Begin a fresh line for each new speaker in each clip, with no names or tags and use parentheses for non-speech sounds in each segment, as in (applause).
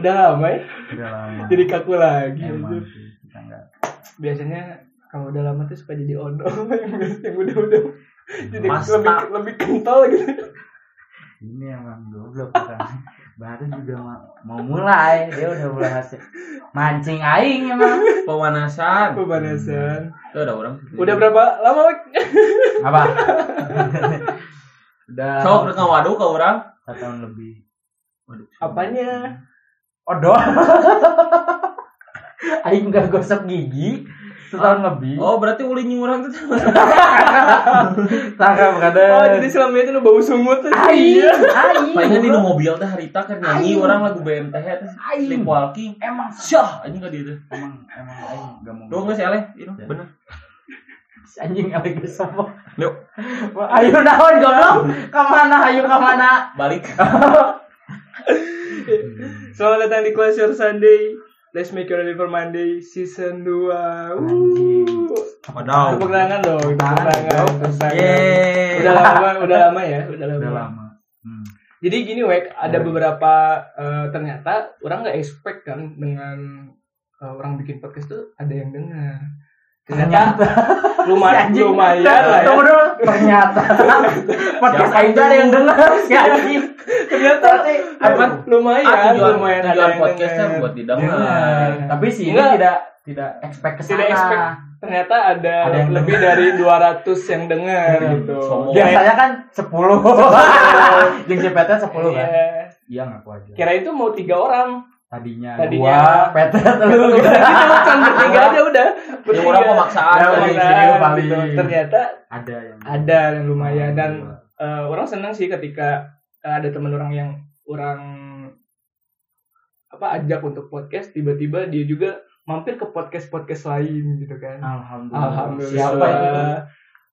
Udah lama ya?
Udah lama.
Jadi gitu. kaku lagi.
Emang
anjir.
sih, kita nggak.
Biasanya kalau udah lama tuh suka jadi ono yang biasa- (laughs) yang udah-udah. Jadi
Mas,
lebih
tak.
lebih kental gitu.
Ini emang goblok kita. Baru juga ma- mau mulai, dia udah mulai hasil mancing aing emang.
Pemanasan.
Pemanasan.
Itu ada orang.
Udah berapa lama, Wek?
Hmm. Apa? udah
Sok rekam waduh ke orang.
satu tahun lebih.
Waduh.
Apanya?
Odol. (laughs) aing nggak gosok gigi setahun lebih.
Oh berarti ulinnya orang itu
tangkap kada.
Oh, jadi selama itu lu bau sumut
aing,
Iya.
aing.
Palingan di
goblok.
mobil teh harita kan nyanyi
Aing.
orang lagu BMTH terus
Aing.
lip walking.
Emang
Syah anjing gak dia.
emang emang aing nggak mau.
Dong ya,
gosok.
nggak sih Aleh? Ino, Bener.
anjing aing gosok.
Yuk
Ayo naon goblok? Kamana ayo kamana?
balik.
Selamat datang di Class Your Sunday. Let's make your day for Monday season 2. Uh.
Wadaw.
Tepuk tangan dong, tepuk tangan. tepuk tangan.
Yeay.
Udah lama, udah lama ya, udah lama.
Udah lama. Hmm.
Jadi gini Wek, ada
Hmm.
beberapa eh, ternyata orang nggak expect kan dengan eh, orang bikin podcast tuh ada yang dengar. Ternyata
(laughs)
lumayan,
Si anjing.
lumayan lah ya.
Tunggu dulu. Ternyata (laughs) podcast
Siapa
aing tuh Iya. ada yang denger si anjing.
Ternyata
Berarti
apa? Lumayan,
Ah, tujuan
lumayan ada
tujuan
yang
podcastnya
dengar.
buat
Dengar.
didengar.
Tapi si ini
Enggak.
tidak tidak expect ke
Tidak expect.
sana.
Ternyata ada,
Ada yang
lebih dari 200 yang dengar gitu.
Hmm, Sombong.
Biasanya kan (laughs) 10. Jeung si PT
(laughs)
10 kan.
Iya.
Iya ngaku aja.
Kira itu mau tiga
(laughs)
orang.
Tadinya, Iya.
Tadinya.
dua, PT (laughs)
Udah
lu.
gitu, kan bertiga aja udah.
Ya Iya. orang pemaksaan
Ya,
kali.
pemaksaan.
Nah,
paling.
gitu. Ternyata
Ada yang
ada yang lumayan dan eh, orang senang sih ketika eh, ada teman orang yang orang apa ajak untuk podcast tiba-tiba dia juga mampir ke podcast podcast lain gitu kan.
Alhamdulillah.
Alhamdulillah.
Siapa itu?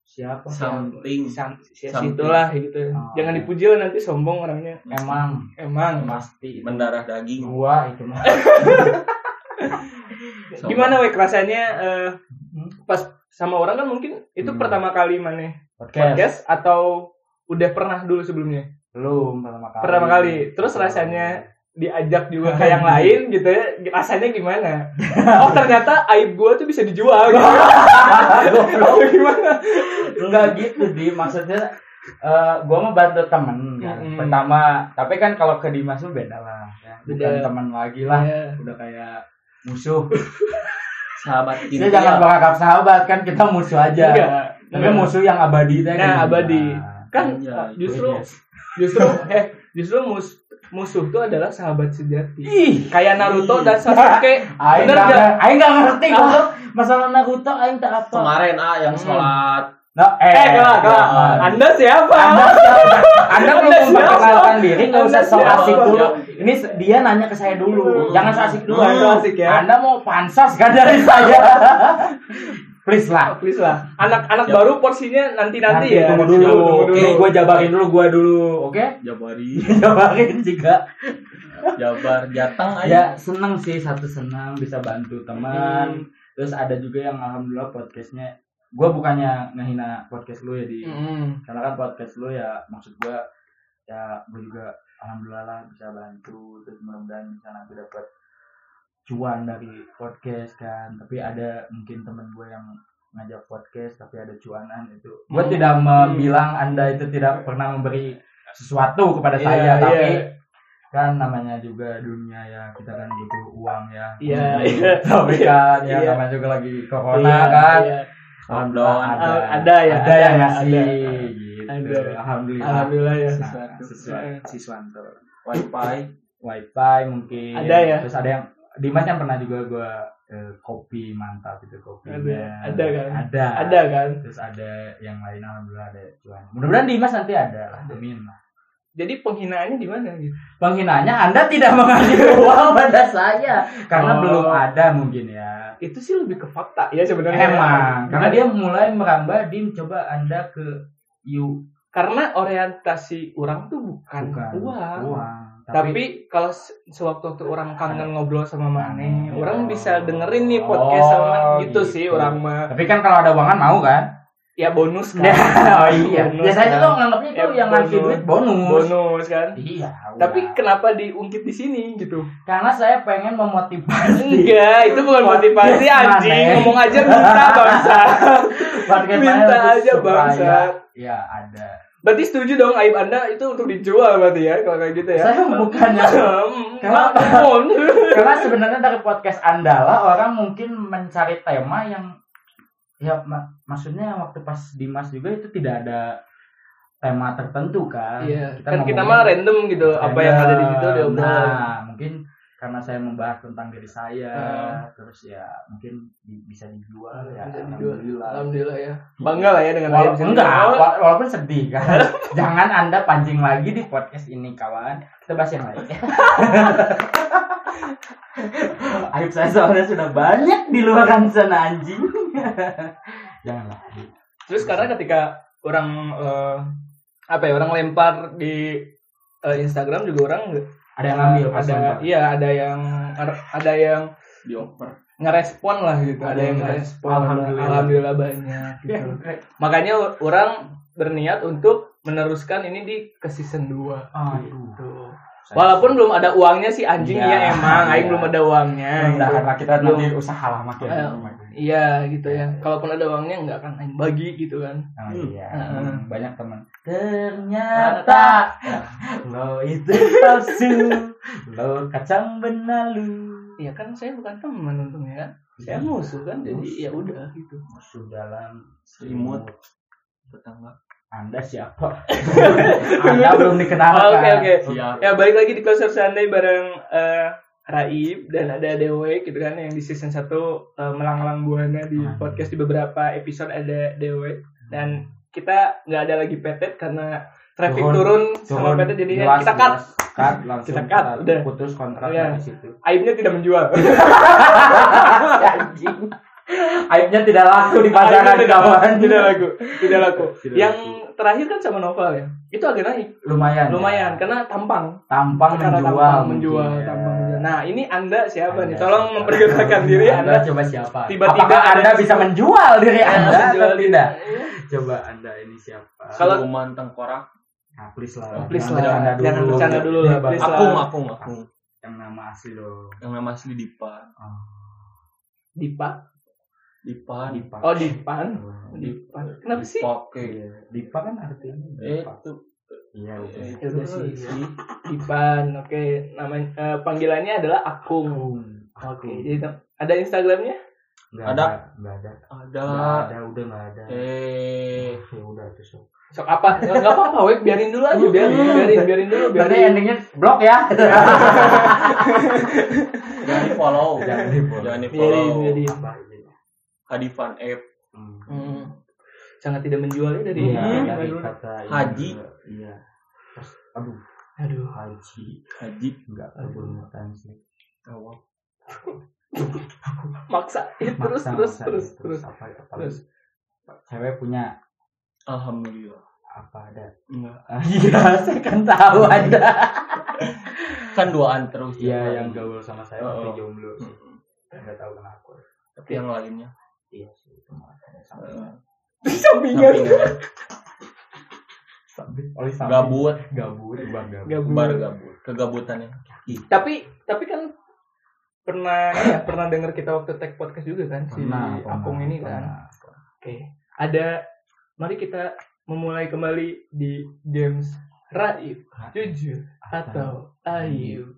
Siapa?
Something.
Sam, ya
Something.
situlah gitu.
Oh.
Jangan dipuji lah nanti sombong orangnya.
Emang
Emang.
pasti
Mendarah daging.
Oh.
gua itu mah.
Sombong.
Gimana wek rasanya eh, pas sama orang kan mungkin itu
Hmm.
pertama kali mana
(laughs) Podcast.
podcast atau udah pernah dulu sebelumnya?
Belum pertama kali.
Pertama kali. Terus
Iya. (laughs)
rasanya diajak juga ke yang lain gitu ya rasanya
(laughs)
gimana oh ternyata aib gua tuh bisa dijual gitu Atau gimana
enggak gitu di maksudnya eh gua mah bantu temen kan.
Mm-mm.
Pertama, tapi kan kalau ke Dimas tuh beda lah. ya. Bukan
Beda. Iya.
teman lagi lah. Udah kayak musuh.
Sahabat
Kita
inti.
Iya.
jangan menganggap sahabat kan kita musuh aja.
enggak
Tapi musuh yang abadi teh.
Iya. nah
kan.
abadi
Nah,
kan
Iya, itu
justru
yes.
justru (laughs) eh justru mus- musuh tuh adalah sahabat sejati
Ih,
kayak Naruto dan
(laughs)
Sasuke
aing
bener
nggak
gak
aing nggak ngerti goblok. masalah Naruto aing tak apa.
Kemarin ah yang
Hmm.
sholat.
Nah, eh,
eh kelak kelak
jangan.
anda siapa
Anda Anda
Anda
belum
siapa?
memperkenalkan diri, nggak usah
Anda
so
siapa?
asik dulu. Ini se- dia nanya ke saya dulu, jangan so asik dulu.
Jangan so Hmm. asik ya.
Anda mau pansas kan dari saya? Please
Oh,
lah.
please lah anak-anak
Ya.
baru porsinya nanti nanti ya
Tunggu dulu.
Tunggu dulu.
Oke, gue jabarin dulu gue dulu. Oke? (laughs)
Jabari.
(laughs)
Jabarin juga.
Jabar Jateng aja.
Ya seneng sih satu senang bisa bantu
Hmm.
teman. Terus ada juga yang alhamdulillah podcastnya. Gue bukannya ngehina podcast lu ya di
Mm-mm.
karena kan podcast lu ya maksud gua ya gua juga alhamdulillah lah bisa bantu terus mudah-mudahan bisa nanti dapat cuan dari podcast kan tapi ada mungkin temen gua yang ngajak podcast tapi ada cuanan itu gua
Hmm.
tidak bilang anda itu tidak pernah memberi sesuatu kepada
Iya,
saya
iya.
tapi kan namanya juga dunia ya kita kan butuh uang ya
Iya,
Untuk
iya.
tapi kan ya
Iya.
namanya juga lagi corona
Iya,
kan
iya.
Alhamdulillah
Al- ada ya,
Oh, ada, yang
ada,
ngasih
ada.
gitu.
Ada.
Alhamdulillah.
alhamdulillah ya
Nah, sesuatu. Siswanto.
Wifi.
Wifi mungkin.
Ada ya?
Terus ada yang Dimas yang pernah juga gua eh, kopi mantap itu kopinya.
Ada. Ada kan?
Ada.
ada kan
Terus ada yang lain alhamdulillah ada cuan. Mudah-mudahan Dimas nanti ada lah. Amin. lah.
jadi penghinaannya di mana gitu
Penghinaannya Anda tidak mengasih (laughs) uang pada saya karena
Oh.
belum ada mungkin ya.
itu sih lebih ke fakta ya sebenarnya
Emang Iya, karena dia mulai merambah Dim coba Anda ke U
karena orientasi orang tuh bukan,
bukan
uang
uang.
Ah. tapi, kalau se- sewaktu-waktu orang kangen ngobrol sama Mane,
Mane.
orang bisa dengerin nih
Oh,
podcast sama Mane. gitu,
gitu.
sih orang mah.
tapi kan kalau ada uangan mau kan
ya bonus kan (laughs)
Nah, (laughs) oh iya.
Bonus,
Biasanya
kan?
tuh nganggapnya itu
Ya,
yang ngasih
bonus.
duit bonus.
bonus kan
Iya.
tapi
udah.
kenapa diungkit di sini gitu
karena saya pengen (laughs) memotivasi
enggak itu bukan
Podcast
motivasi
mana,
anjing
eh?
ngomong aja
(laughs)
minta bangsa
podcast
Minta
saya untuk
aja, bangsat.
Ya ada.
berarti setuju dong aib anda itu untuk dijual berarti ya kalau kayak gitu ya
Saya bukan Kenapa?
Mampun.
karena sebenarnya dari podcast Andala orang mungkin mencari tema yang ya ma- maksudnya waktu pas Dimas juga itu tidak ada tema tertentu kan.
Iya, kan kita mah
ngomongin-
random iya, gitu apa yang ada di situ dia obrol
Nah, mungkin karena saya membahas tentang diri saya,
Hmm.
terus ya mungkin di- bisa dijual ya.
Bisa dijual.
Alhamdulillah.
alhamdulillah ya bangga lah ya dengan aib
Walaupun
sendiri.
enggak,
Oh,
wa- walaupun sedih kan. (laughs) Jangan Anda pancing lagi di podcast ini kawan. Kita bahas yang lain. (laughs) Aib saya soalnya sudah banyak di luar sana anjing. (laughs) Janganlah.
terus karena ketika orang eh, apa ya orang lempar di eh, Instagram juga orang
Ada yang ngambil pas
ada
nonton.
iya ada yang ada yang
dioper
ngerespon lah gitu
Ada
ada yang
yang
ngerespon
Alhamdulillah.
alhamdulillah banyak gitu makanya orang berniat untuk meneruskan ini di ke season 2
Aduh.
gitu. walaupun belum ada uangnya sih anjing
Kan. Iya.
ya emang aing
Iya.
belum ada uangnya gitu.
mudah-mudahan kita
Belum.
nanti usaha lah makin. Oh
Eh, iya gitu ya kalaupun ada uangnya nggak akan aing bagi gitu kan
Oh, iya,
Heeh.
banyak teman. Ternyata lo itu palsu, lo kacang benalu.
Iya kan saya bukan teman untungnya kan saya
Iya.
musuh kan jadi ya udah gitu
musuh dalam
selimut tetangga
Anda
(laughs)
siapa? Anda belum dikenalkan.
Ah, Oke, oke.
siap
ya balik lagi di konser Sunday bareng eh, Raib dan ada Dewe gitu kan yang di season 1 eh, melanglang buana di
Hmm.
podcast di beberapa episode ada Dewe
Ah.
dan kita nggak ada lagi petet karena traffic
Turun,
turun, sama
Turun,
petet jadinya
jelas,
kita cut
jelas. Cut, langsung
Kita cut, udah.
putus kontrak
Iya.
dari situ. (laughs) Ya,
aibnya tidak menjual
Anjing. Aibnya tidak laku di
Aibnya
pasaran
tidak
kawan. (laughs)
tidak laku tidak laku
Tidak
yang
laku.
terakhir kan sama Novel ya itu agak naik
Lumayan. ya.
lumayan karena tampang
Nah, Tampang
karena
menjual.
tampang
mungkin,
menjual
ya.
tampang menjual. nah ini anda siapa
Anda
nih tolong
siapa?
memperkenalkan diri ya.
Anda
anda
coba siapa?
Tiba-tiba
Apakah
ada-
Anda bisa menjual diri Anda atau
Menjual diri.
tidak? Coba Anda ini siapa?
Kalau- Oh,
Siluman tengkorak
Nah, please lah.
Please lah.
Jangan bercanda dulu.
Jangan bercanda dulu lah,
Ini
please
bakal-
lah.
akung akung akung
Yang nama asli dong.
yang nama asli Dipa
Oh, Dipa
Dipa
Dipa.
Oh di pan, di
Di-
pan. Kenapa sih?
pakai
Dipa kan artinya Dipa.
itu
Ya
Iya, iya.
udah Eh. sih.
terus.
Di pan. Oke, namanya eh, panggilannya adalah Akung. Oke, jadi tem- ada Instagramnya?
Nggak
Ada.
Nggak ada. Nggak
ada
ada, udah nggak ada.
eh
Ya udah itu so.
Sok apa? Nggak nggak apa-apa, wait, biarin dulu aja, biarin,
Iya.
biarin, biarin dulu,
Berarti
biarin.
endingnya blok ya.
Iya.
jangan di follow
(laughs) Jangan di follow. Iya,
jangan di
Biarin,
follow
biarin.
Apa ini?
Hadifan F
Hmm. Sangat tidak menjualnya dari
Iya,
ini.
dari
Aduh.
kata ini
Haji.
juga, Iya. Terus, aduh,
Aduh.
haji
Haji
nggak kebunuhan sih.
Awal.
Maksa. Eh, terus,
Maksa,
terus,
maksa,
terus,
ya,
terus.
Apa, apa,
Terus.
Cewek punya
Alhamdulillah
apa ada?
enggak
Ah, Iya, saya kan tahu ada.
kan duaan terus
Iya, yang
enggak
gaul sama saya
Oh,
pasti
oh.
jomblo. sih. Nggak tahu kenapa.
tapi yang lainnya
Iya sih, itu makanya sama.
eh,
Sampingan.
sampingan.
Sambil- Oleh Oh, sambil.
gabut
gabut bang gabut
Gabut.
bar gabut kegabutannya
Tapi tapi kan pernah ya, pernah denger kita waktu tag podcast juga kan si Akung ini kan. Oke, ada mari kita memulai kembali di James Raib, jujur atau Ayu.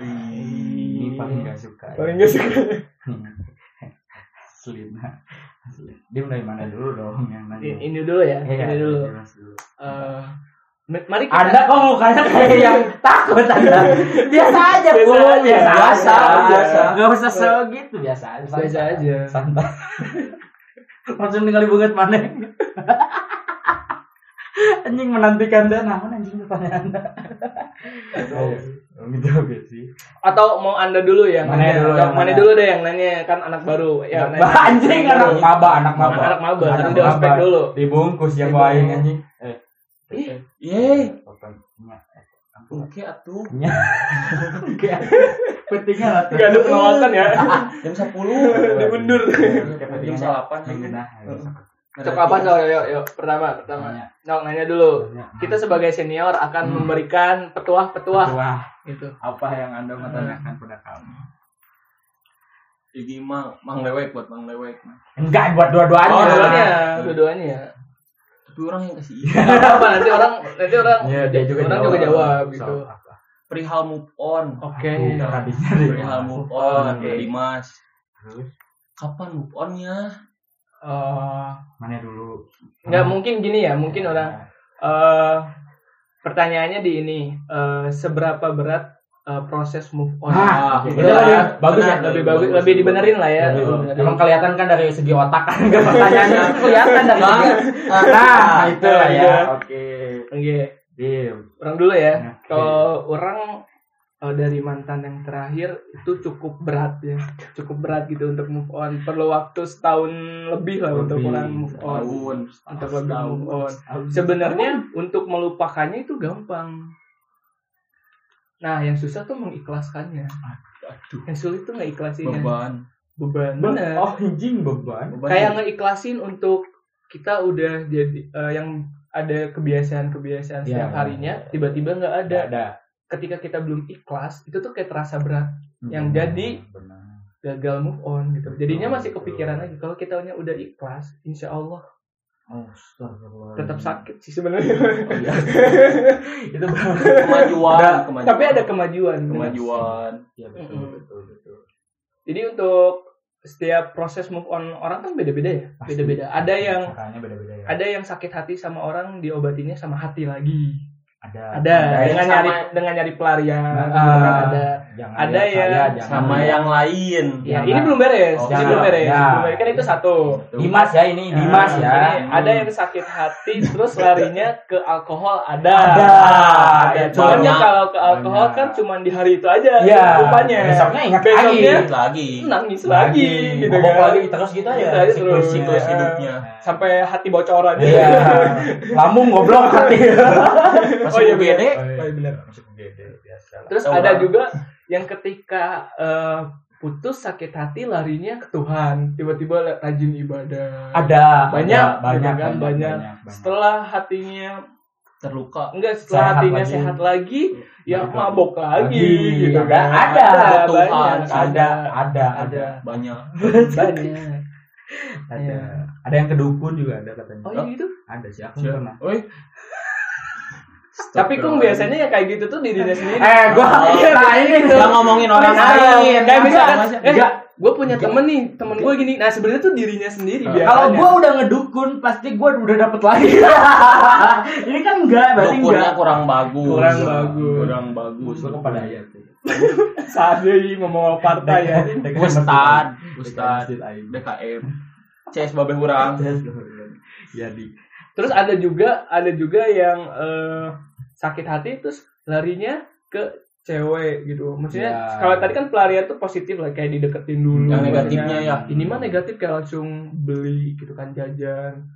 ini paling gak suka
Paling gak suka.
(laughs) Asli, nah. Asli. dia mulai mana dulu dong yang
Ini,
nanya
ini dulu ya,
Iya,
ini dulu.
jelas dulu.
Eh, ma- mari kita
anda kok mukanya kayak yang takut anda (laughs) biasa aja
Biasa
Bu.
aja, biasa
biasa
aja.
nggak usah so gitu biasa aja santai.
Biasa aja.
santai (laughs) langsung tinggal bunget mana (laughs) anjing menantikan nah, dan namun anjing pertanyaan anda Ayo, jawab ya sih
atau mau anda dulu yang
Mana
nanya?
dulu
Atau
yang
mana
nanya?
dulu deh yang nanya kan anak baru ya
Anak
nanya.
ba- Iya, anjing anak maba anak maba
Anak maba, tadi di ospek dulu.
dibungkus yang
Dibungkus.
lain anjing eh
Eh.
Yeay,
fotonya eh, ampun.
oke atuh.
Nya. Oke.
(laughs)
pentingnya lah
Gak ada (laughs) pengawasan ya
Jam 10
diundur
Oke, pentingnya
Jam 8
gitu.
mengenah, ya,
Heeh.
besok.
Cok apa Sol? Yuk, yuk. Pertama, pertama.
Nanya.
Nol, nanya dulu. Kita sebagai senior akan
Hmm.
memberikan petuah-petuah
Wah,
gitu.
apa yang Anda mau tanyakan pada kami?
Ini mang, mang lewek buat mang lewek.
Enggak buat dua-duanya.
Oh, dua-duanya,
Hmm.
dua-duanya (laughs) ya.
Tapi orang yang kasih izin.
Gak apa-apa, nanti orang nanti orang
Iya, dia juga
orang
jawab.
juga jawab gitu.
Soal apa?
perihal move on.
Oke.
Tuh, Habisnya
perihal move on.
Oke.
Dimas,
Terus
kapan move onnya?
Eh,
mana dulu?
nggak mungkin gini ya, mungkin orang eh pertanyaannya di ini eh, seberapa berat eh, proses move
Ah,
on?
Hah,
Gitu.
itu lebih bagus ya?
Nah, lebih bagus, lebih dibenerin lah ya.
Lebih
Lebih
bagus.
dibenerin.
Emang kelihatan kan dari segi otak kan
(laughs)
enggak pertanyaannya
Nah.
kelihatan dari segi
Nah,
Nah, itu lah ya.
iya.
Oke.
Oke.
Dim.
Orang dulu ya.
Oke.
Kalau orang eh, dari mantan yang terakhir itu cukup berat ya, cukup berat gitu untuk move on. Perlu waktu setahun lebih lah untuk
Lebih.
orang move on.
Tahun.
Oh, Untuk lebih move on.
Tahun.
Sebenarnya untuk melupakannya itu gampang. Nah, yang susah tuh mengikhlaskannya.
Aduh,
Yang sulit tuh ngeikhlasinnya.
beban.
Beban. Bener.
Bener. Oh, anjing beban. ya?
Beban.
kayak ngeikhlasin untuk kita udah jadi eh, yang ada kebiasaan-kebiasaan
Iya,
setiap
iya,
harinya tiba-tiba nggak ada
Ada ada.
ketika kita belum ikhlas itu tuh kayak terasa berat Yang jadi.
Benar.
gagal move on gitu jadinya
Betul,
masih kepikiran
betul.
lagi kalau kita udah ikhlas insya Allah
Astagfirullah.
tetap sakit sih sebenarnya
Oh,
(laughs)
iya. itu benar.
Kemajuan,
Ada-
kemajuan.
tapi ada kemajuan
kemajuan.
Iya
Mm-mm.
betul betul.
jadi untuk setiap proses move on orang kan beda-beda ya
Pasti.
beda-beda ada yang
caranya beda-beda ya.
ada yang sakit hati sama orang diobatinya sama hati lagi
Ada.
ada
yang
dengan
sama-
nyari dengan nyari pelarian
Nah,
Ah,
bener.
ada
Jangan
ada
lihat
yang
saya, jangan
Sama
Iya.
lihat.
yang lain.
Ya,
Jangan.
ini belum beres.
Oh,
ini
jangan.
belum beres.
Ya.
Belum beres. Kan itu satu. Nah,
Tuh.
Dimas ya ini Dimas ya.
Ah, Ini ada yang sakit hati terus larinya ke alkohol ada.
Ada.
Ada.
Ya,
Cuman ya
banyak.
kalau ke alkohol
Banyak.
kan cuman di hari itu aja
Iya.
rupanya.
Besoknya ingat
Besoknya
Lanjut lagi.
nangis lagi, gitu
Mabok
kan.
lagi terus gitu ya.
Gitu aja terus.
Siklus hidupnya.
Sampai hati bocoran.
Iya.
(laughs)
Lambung goblok (laughs) hati.
Pas
Oh, iya,
UGD,
Oh, iya benar. Masuk UGD biasa. lah.
Terus
Tahu
ada
orang.
juga yang ketika eh, putus sakit hati larinya ke Tuhan. Tiba-tiba rajin ibadah.
Ada
Banyak,
ada, banyak,
gitu kan, banyak.
banyak.
Setelah hatinya
terluka.
enggak setelah
Sehat
hatinya
lagi.
sehat lagi ya
Mabok
mabok lagi,
lagi.
gitu
Ada,
kan.
ada,
Tuhan,
banyak
Ada, ada, ada.
ada
Banyak.
kan?
banyak
Ada.
Iya.
Ada yang kedukun juga ada katanya.
oh iya gitu
Ada sih aku
Siap.
pernah.
Oi.
Nah. tapi kung biasanya ya kayak gitu tuh di diri sendiri
Eh, gua (laughs)
Oh,
nah ini tuh.
Jangan ngomongin orang lain.
kayak misalkan
Masa-
eh
Enggak. Ah.
gue punya temen nih temen gue gini nah sebenarnya tuh dirinya sendiri
Eh,
biasanya
Kalau gua udah ngedukun, pasti gua udah dapet lagi. (laughs) ini kan enggak, berarti
Dukunnya
enggak.
kurang bagus.
Kurang bagus.
Kurang bagus.
Gua kepada ayat sih.
sadar ngomong partai ya
Dekat
Ustad,
Ustad.
Ustad, DKM, CS Babe Kurang.
Jadi.
terus ada juga ada juga yang eh, sakit hati terus larinya ke cewek gitu maksudnya
Ya.
kalau tadi kan pelarian tuh positif lah kayak dideketin dulu
Yang
maksudnya.
negatifnya ya.
ini mah negatif kayak langsung beli gitu kan jajan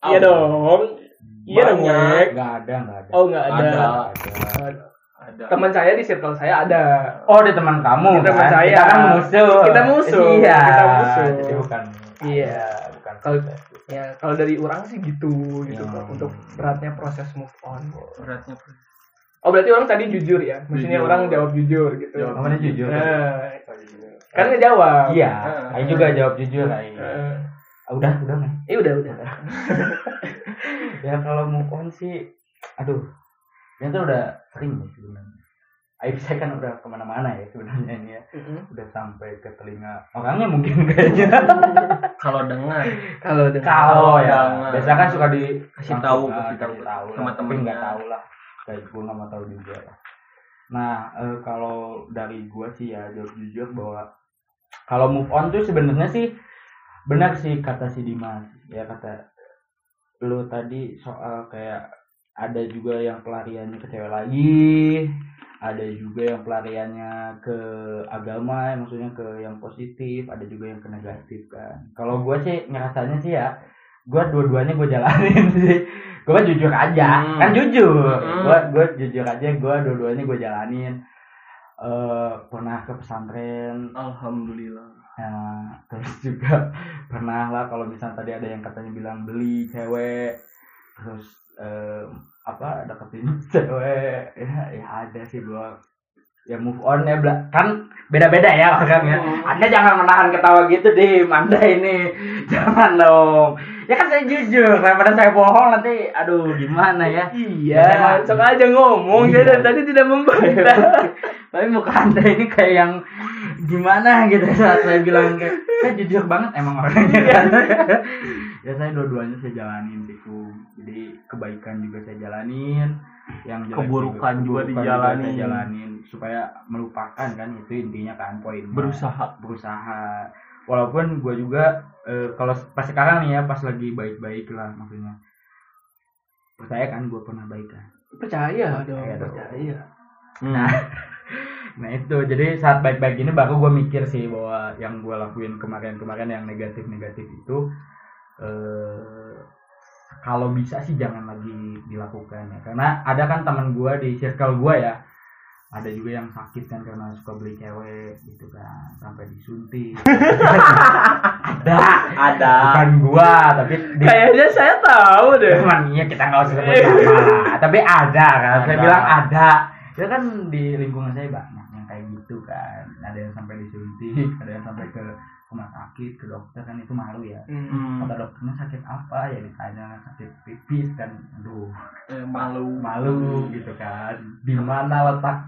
Au.
iya dong iya dong
Banyak.
Wek.
Enggak ada, enggak ada.
oh nggak ada.
Ada.
Nggak ada.
Ada.
teman saya di circle saya ada
Oh, di teman
Di
kamu.
teman
kan?
saya.
Kita kan musuh.
Kita musuh.
Iya.
Kita musuh.
Jadi bukan.
Iya.
Bukan.
Kalau- ya kalau dari orang sih gitu gitu
Ya.
Kak, untuk beratnya proses move on
Beratnya.
oh berarti orang tadi jujur ya maksudnya
Jujur.
orang jawab jujur gitu
Jawab.
Namanya jujur.
Eh, kan ngejawab
Iya.
Eh.
Ayo juga jawab jujur, Ayo. Ah,
Eh,
Udah, udah. Nay.
eh udah udah
ya kalau move on sih aduh ini tuh udah sering nih sebenarnya aib saya kan udah kemana-mana ya sebenarnya ini ya
Mm-mm.
udah sampai ke telinga orangnya mungkin kayaknya
Kalau dengar
kalau dengan
kalau ya
Jangan.
biasanya kan suka dikasih
Kasih tahu,
kasih
kasih
tahu
tahu
lah.
sama
Tapi
temennya.
nggak tahu lah kayak gue nggak mau tahu juga lah nah eh, kalau dari gue sih ya jujur jujur bahwa kalau move on tuh sebenarnya sih benar sih kata si Dimas ya kata lu tadi soal kayak ada juga yang pelariannya ke cewek lagi ada juga yang pelariannya ke agama ya, maksudnya ke yang positif ada juga yang ke negatif kan kalau gue sih ngerasanya sih ya gue dua-duanya gue jalanin (laughs) sih gue jujur aja
Hmm.
kan jujur
Hmm.
gue gue jujur aja gue dua-duanya gue jalanin eh pernah ke pesantren
alhamdulillah.
Nah, terus juga (laughs) pernah lah kalau misalnya tadi ada yang katanya bilang beli cewek terus eh, apa deketin (laughs) cewek ya, ya ada sih gua ya move on ya Bla. kan beda-beda ya orang ya anda jangan menahan ketawa gitu deh anda ini (laughs) jangan dong ya kan saya jujur daripada saya bohong nanti aduh gimana ya
Iya, sok aja ngomong saya dari tadi tidak (laughs) membantah.
tapi muka (laughs) anda ini kayak yang gimana gitu saat saya bilang kayak saya jujur banget emang orangnya
Iya.
kan (laughs) ya saya dua-duanya saya jalanin sih Kum. jadi kebaikan juga saya jalanin yang jelek
Keburukan juga
keburukan
dijalanin.
saya jalanin supaya melupakan kan itu intinya kan poin
berusaha
berusaha walaupun gue juga eh, kalau pas sekarang nih ya pas lagi baik-baik lah maksudnya percaya kan gue pernah baik kan
Percaya Iya dong,
Percaya dong.
percaya.
Nah, nah itu jadi saat baik-baik ini baru gue mikir sih bahwa yang gue lakuin kemarin-kemarin yang negatif-negatif itu eh, kalau bisa sih jangan lagi dilakukan ya karena ada kan teman gue di circle gue ya ada juga yang sakit kan karena suka beli cewek gitu kan sampai disuntik ada
ada
bukan gua tapi di
Kayaknya saya tahu deh.
Cuman iya kita nggak usah sebut nama lah. Tapi ada kan. Saya
Ada.
bilang ada. Ya kan di lingkungan saya banyak yang kayak gitu kan. Ada yang sampai disuntik, ada yang sampai ke rumah sakit, ke dokter kan itu malu ya.
Hmm.
Kata dokternya sakit apa ya ditanya sakit pipis kan. Aduh,
Eh, malu
malu gitu kan. Di mana letak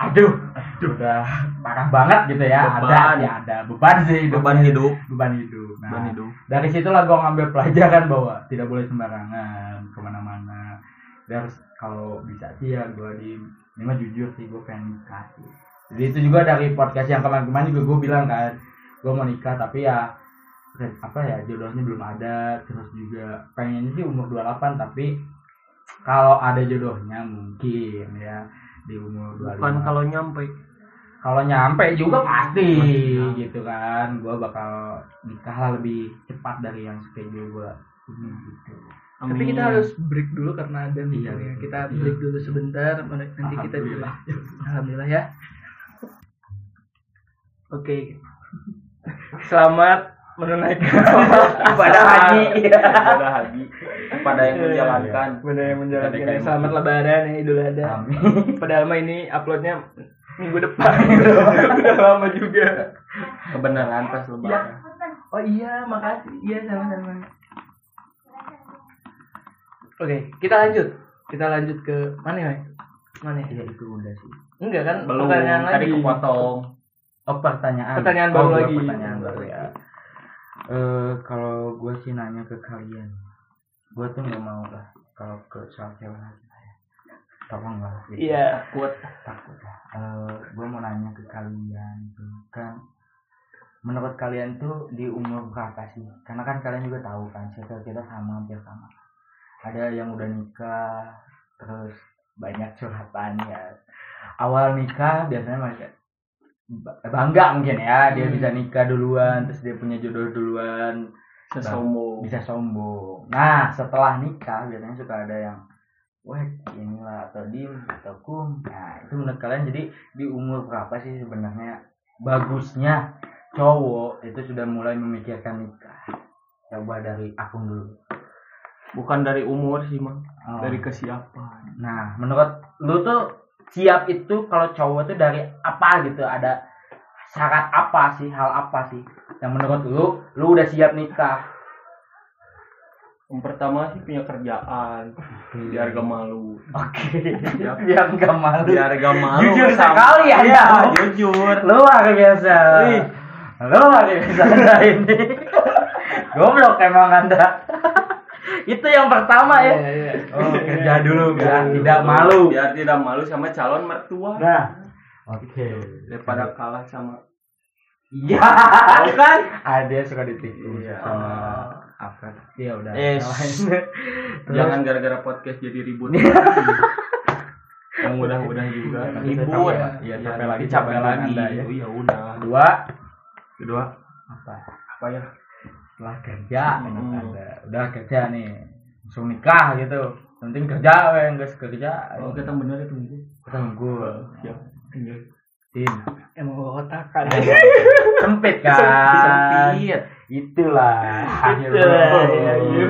Aduh, udah parah banget gitu ya.
Beban.
Ada, ya ada beban sih, ya.
beban hidup
beban hidup. Nah,
beban hidup
dari situlah gue ngambil pelajaran bahwa tidak boleh sembarangan kemana-mana Dan harus kalau bisa sih ya gue di ini mah jujur sih gue pengen nikah sih jadi itu juga dari podcast yang kemarin-kemarin juga gue bilang kan gue mau nikah tapi ya re- apa ya jodohnya belum ada terus juga pengennya sih umur 28 tapi kalau ada jodohnya mungkin ya di umur 25
bukan kalau nyampe
kalau nyampe juga pasti
Pasti.
gitu kan gua bakal nikah lah lebih cepat dari yang schedule gua ini gitu
Tapi kita harus break dulu karena ada meetingnya.
Iya.
Kita
Iya.
break dulu sebentar, nanti kita juga. Alhamdulillah ya. Oke. Selamat (laughs) menunaikan
pada haji
pada haji pada
Iya.
yang menjalankan
Benar yang menjalankan.
Kita DKM.
Selamat Lebaran ya Idul Adha.
amin
Padahal mah ini uploadnya minggu depan. gitu. Udah lama juga.
kebenaran pas lebaran
Oh iya, makasih. Iya sama-sama. Oke, kita lanjut. Kita lanjut ke mana ya? Mana ya?
ya itu udah sih
Enggak kan?
belum
pertanyaan
tadi
lagi.
kepotong
oh pertanyaan
Pertanyaan
Oh,
baru
gua
lagi.
pertanyaan baru ya Eh, kalau gua sih nanya ke kalian gua tuh nggak mau lah kalau ke soal cewek lagi ya. tolong lah gitu.
Iya.
kuat
takut lah. gue mau nanya ke kalian tuh kan menurut kalian tuh di umur berapa sih? Karena kan kalian juga tahu kan, circle kita sama hampir sama. Ada yang udah nikah, terus banyak curhatan ya. Awal nikah biasanya masih ba- bangga mungkin ya, dia
Hmm.
bisa nikah duluan, terus dia punya jodoh duluan,
sesombong
bisa sombong. Nah, setelah nikah biasanya suka ada yang wek inilah atau dim atau kum. Nah, itu menurut kalian jadi di umur berapa sih sebenarnya bagusnya cowok itu sudah mulai memikirkan nikah? Coba dari aku dulu.
bukan dari umur sih mang
Ah.
Oh.
dari kesiapan
Nah, menurut lu tuh siap itu kalau cowok tuh dari apa gitu? Ada syarat apa sih? Hal apa sih? Yang menurut lu, lu udah siap nikah?
yang pertama sih punya kerjaan biar gak malu
Oke.
Siap.
(laughs) Biar gak malu.
biar gak malu
Jujur
sama-
sekali
ya,
Anda.
Iya, jujur
luar biasa
Ih.
luar biasa (laughs) anda ini goblok emang anda itu yang pertama ya
iya.
oh kerja dulu Ya. biar
Biar
tidak
jujur.
malu
biar tidak malu sama calon mertua
nah oke
daripada kalah sama
iya
Tahu kan
ada yang suka ditipu
Iya.
sama apa ya udah
Yes. (laughs)
Terus-
jangan gara-gara podcast jadi ribut (laughs) mudah-mudahan juga
Nanti saya
ribut
capek, Pak. Iya, capek lagi,
capek
capek
lagi
Anda, ya.
oh ya udah
kedua
kedua
apa
apa ya
setelah kerja enak
Hmm.
ada udah kerja nih langsung nikah gitu penting kerja weh nggak kerja
ya, oh kita bener itu
ketemu gue
siap Iya.
(laughs)
Tin.
emang otak
Iya,
kan
Sempit kan. Itulah akhir
Itulah,
bro.
ya, iya.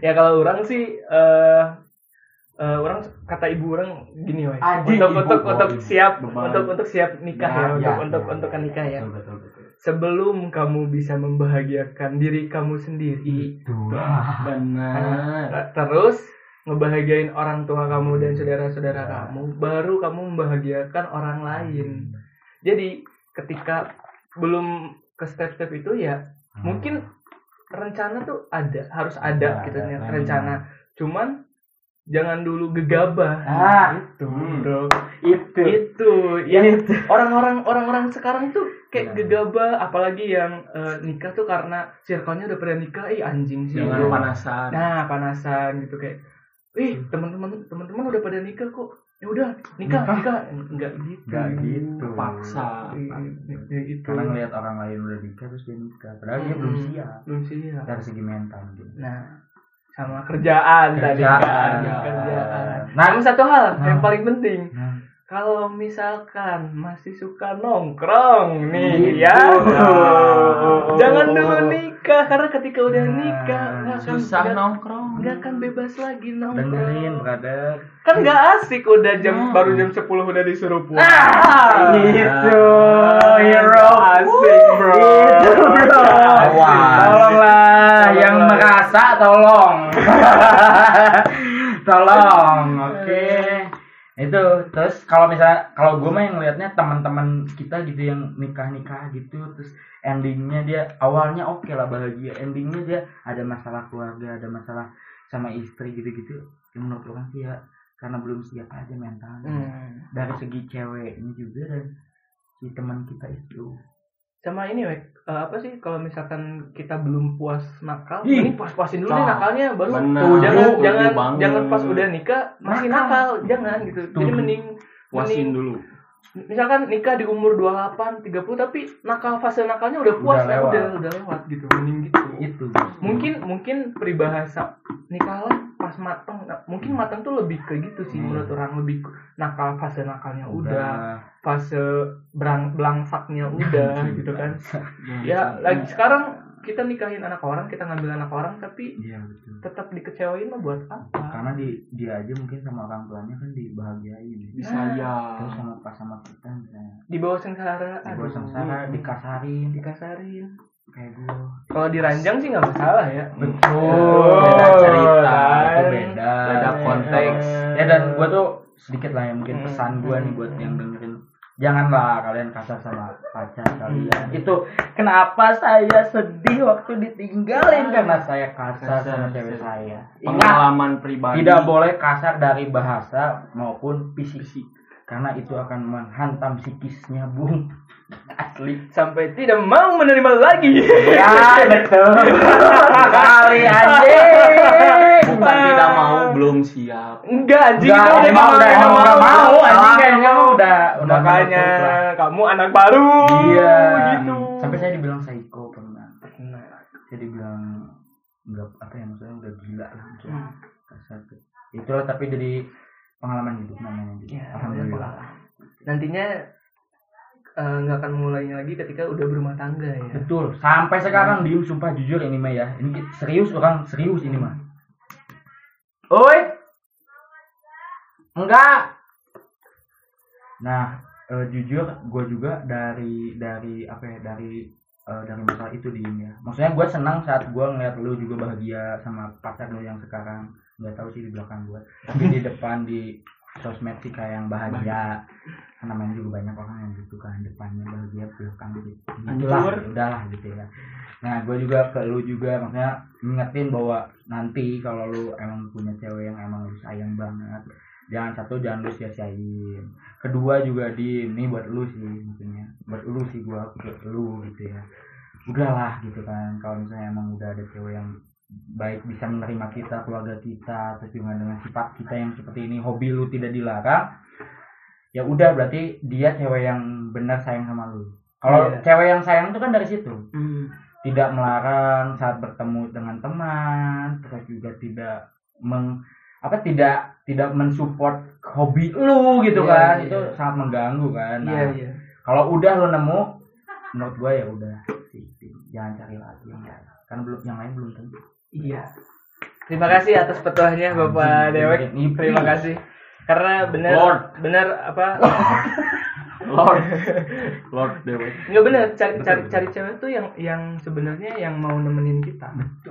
ya kalau orang sih eh eh, orang kata ibu orang gini woy.
Anjing,
untuk
ibu,
untuk
oh,
untuk
ibu.
siap
Beban.
untuk untuk siap nikah ya,
Ya,
untuk
ya,
untuk
ya,
untuk
ya.
nikah ya
Betul, betul, betul.
sebelum kamu bisa membahagiakan diri kamu sendiri
Itulah.
Benar.
ter- Nah, terus ngebahagiain orang tua kamu dan saudara-saudara kamu baru kamu membahagiakan orang lain jadi ketika belum ke step-step itu ya mungkin rencana tuh ada harus ada
Ada,
gitu
ada
ya,
planning.
rencana cuman jangan dulu gegabah
Ah.
itu
Hmm.
bro
Itu.
itu yang orang-orang orang-orang sekarang tuh kayak
Nah.
gegabah apalagi yang eh, nikah tuh karena circle-nya udah pada nikah ih anjing sih
Jangan
bro.
panasan.
nah panasan gitu kayak
Hmm.
ih teman-teman teman-teman udah pada nikah kok ya udah nikah nikah enggak gitu
Enggak gitu.
Paksa.
Iya, gitu
Karena ngelihat orang lain udah nikah terus dia nikah. Padahal dia belum
Hmm.
siap.
belum siap
Dari segi mental gitu.
Nah, sama kerjaan, tadi kan,
Kerjaan.
kerjaan.
Nah.
Nah, sama satu hal yang
Nah.
paling penting.
Nah,
Kalau misalkan masih suka nongkrong nih
Gitu.
ya,
Nah.
jangan dulu nikah karena ketika udah
Nah,
nikah nggak akan
Susah
nggak-
nongkrong.
nggak akan bebas lagi
dengerin
nongkrong.
brother.
Kan
Hmm.
nggak asik udah jam
Nah.
baru jam 10 udah disuruh pulang.
Ah,
Ah,
Gitu,
iya,
hero.
asik bro.
Gitu, bro.
Awas.
Tolonglah yang
Tolonglah.
merasa tolong. (laughs) tolong, oke. Itu terus kalau misalnya kalau gue mah yang ngelihatnya teman-teman kita gitu yang nikah-nikah gitu terus endingnya dia awalnya oke lah bahagia endingnya dia ada masalah keluarga ada masalah sama istri gitu-gitu yang menurut orang sih ya karena belum siap aja mentalnya
Hmm.
dari segi ceweknya juga dan si teman kita itu
sama ini Wek, Eh, apa sih kalau misalkan kita belum puas nakal
Ih.
ini puas-puasin dulu deh
Nah,
nakalnya baru
benar.
Tuh, jangan
Setuju
jangan
banget.
jangan pas udah nikah masih
Nakal.
nakal jangan gitu jadi
Setuju.
mending mending
Puasin dulu.
misalkan nikah di umur 28 30 tapi nakal fase nakalnya udah puas
Udah
ya,
lewat.
udah udah lewat gitu mending gitu
Iya.
itu
mungkin mungkin peribahasa nikahlah pas mateng Nah, mungkin mateng tuh lebih ke gitu sih
Hmm.
menurut orang lebih ke nakal fase nakalnya udah fase berang
(laughs)
belangsaknya udah
Iya,
gitu kan
Iya,
ya lagi sekarang kita nikahin anak orang kita ngambil anak orang tapi
iya betul
tetap dikecewain mah buat apa
karena di dia aja mungkin sama orang tuanya kan dibahagiain
Bisa ya.
terus sama pas sama kita misalnya
di bawah sengsara
dibawa
aduh,
sengsara dikasarin
dikasarin
kayak gue
kalau diranjang sih nggak masalah ya Kan.
betul beda cerita itu beda Iya.
Beda konteks.
ya dan gue tuh sedikit lah yang mungkin pesan gue nih buat yang dengerin janganlah kalian kasar sama pacar kalian itu kenapa saya sedih waktu ditinggalin karena saya kasar sama cewek saya ingat
Pengalaman pribadi.
tidak boleh kasar dari bahasa maupun fisik karena itu akan menghantam psikisnya bung (laughs) asli
sampai tidak mau menerima lagi (laughs)
ya (laughs) betul kali anjing
Bukan tidak mau, belum siap.
enggak anjing
Udah,
itu udah
emang udah,
nggak
emang udah mau, anjing,
Nggak
emang udah, udah
makanya
menutup lah.
kamu anak baru
iya
gitu
sampai saya dibilang psycho pernah
Nah,
saya dibilang nggak apa ya maksudnya udah gila lah maksudnya kasar tuh itulah tapi jadi pengalaman hidup namanya gitu.
Ya,
alhamdulillah
nantinya eh, nggak akan mulainya lagi ketika udah berumah tangga ya
Betul. Sampai sekarang diem sumpah jujur ini mah ya. Ini ki- serius orang serius ini mah. Oi. Enggak. Nah, eh, jujur gue juga dari dari apa ya dari eh, dari masalah itu diem ya. Maksudnya gue senang saat gue ngeliat lu juga bahagia sama pacar lu yang sekarang. Nggak tahu sih di belakang gue. Tapi di depan di sosmed sih kayak yang bahagia. Karena namanya juga banyak orang yang gitu kan depannya bahagia belakang gitu. Itulah,
Hancur.
udahlah gitu ya. Nah, gue juga ke lu juga maksudnya ngingetin bahwa nanti kalau lu emang punya cewek yang emang lu sayang banget, jangan satu jangan lu sia-siain. Kedua juga di ini buat lu sih maksudnya, buat lu sih gua ke lu gitu ya. Udahlah gitu kan, kalau misalnya emang udah ada cewek yang baik bisa menerima kita, keluarga kita, terus juga dengan sifat kita yang seperti ini, hobi lu tidak dilarang. Ya udah berarti dia cewek yang benar sayang sama lu. Kalau
Iya.
cewek yang sayang itu kan dari situ
Hmm.
tidak melarang saat bertemu dengan teman terus juga tidak meng apa tidak tidak mensupport hobi lu gitu
Iya,
kan
iya.
itu sangat mengganggu kan nah
Iya iya.
kalau udah lo nemu menurut gua ya udah sisipin. jangan cari lagi yang lain. kan belum yang lain belum tentu
Iya. Terima kasih atas petuahnya Bapak
Anjing,
Dewek.
ini-
Terima kasih. Karena benar
Lord.
benar apa?
(laughs)
Lord Lord Dewek
Enggak benar cari cari cari cewek tuh yang yang sebenarnya yang mau nemenin kita.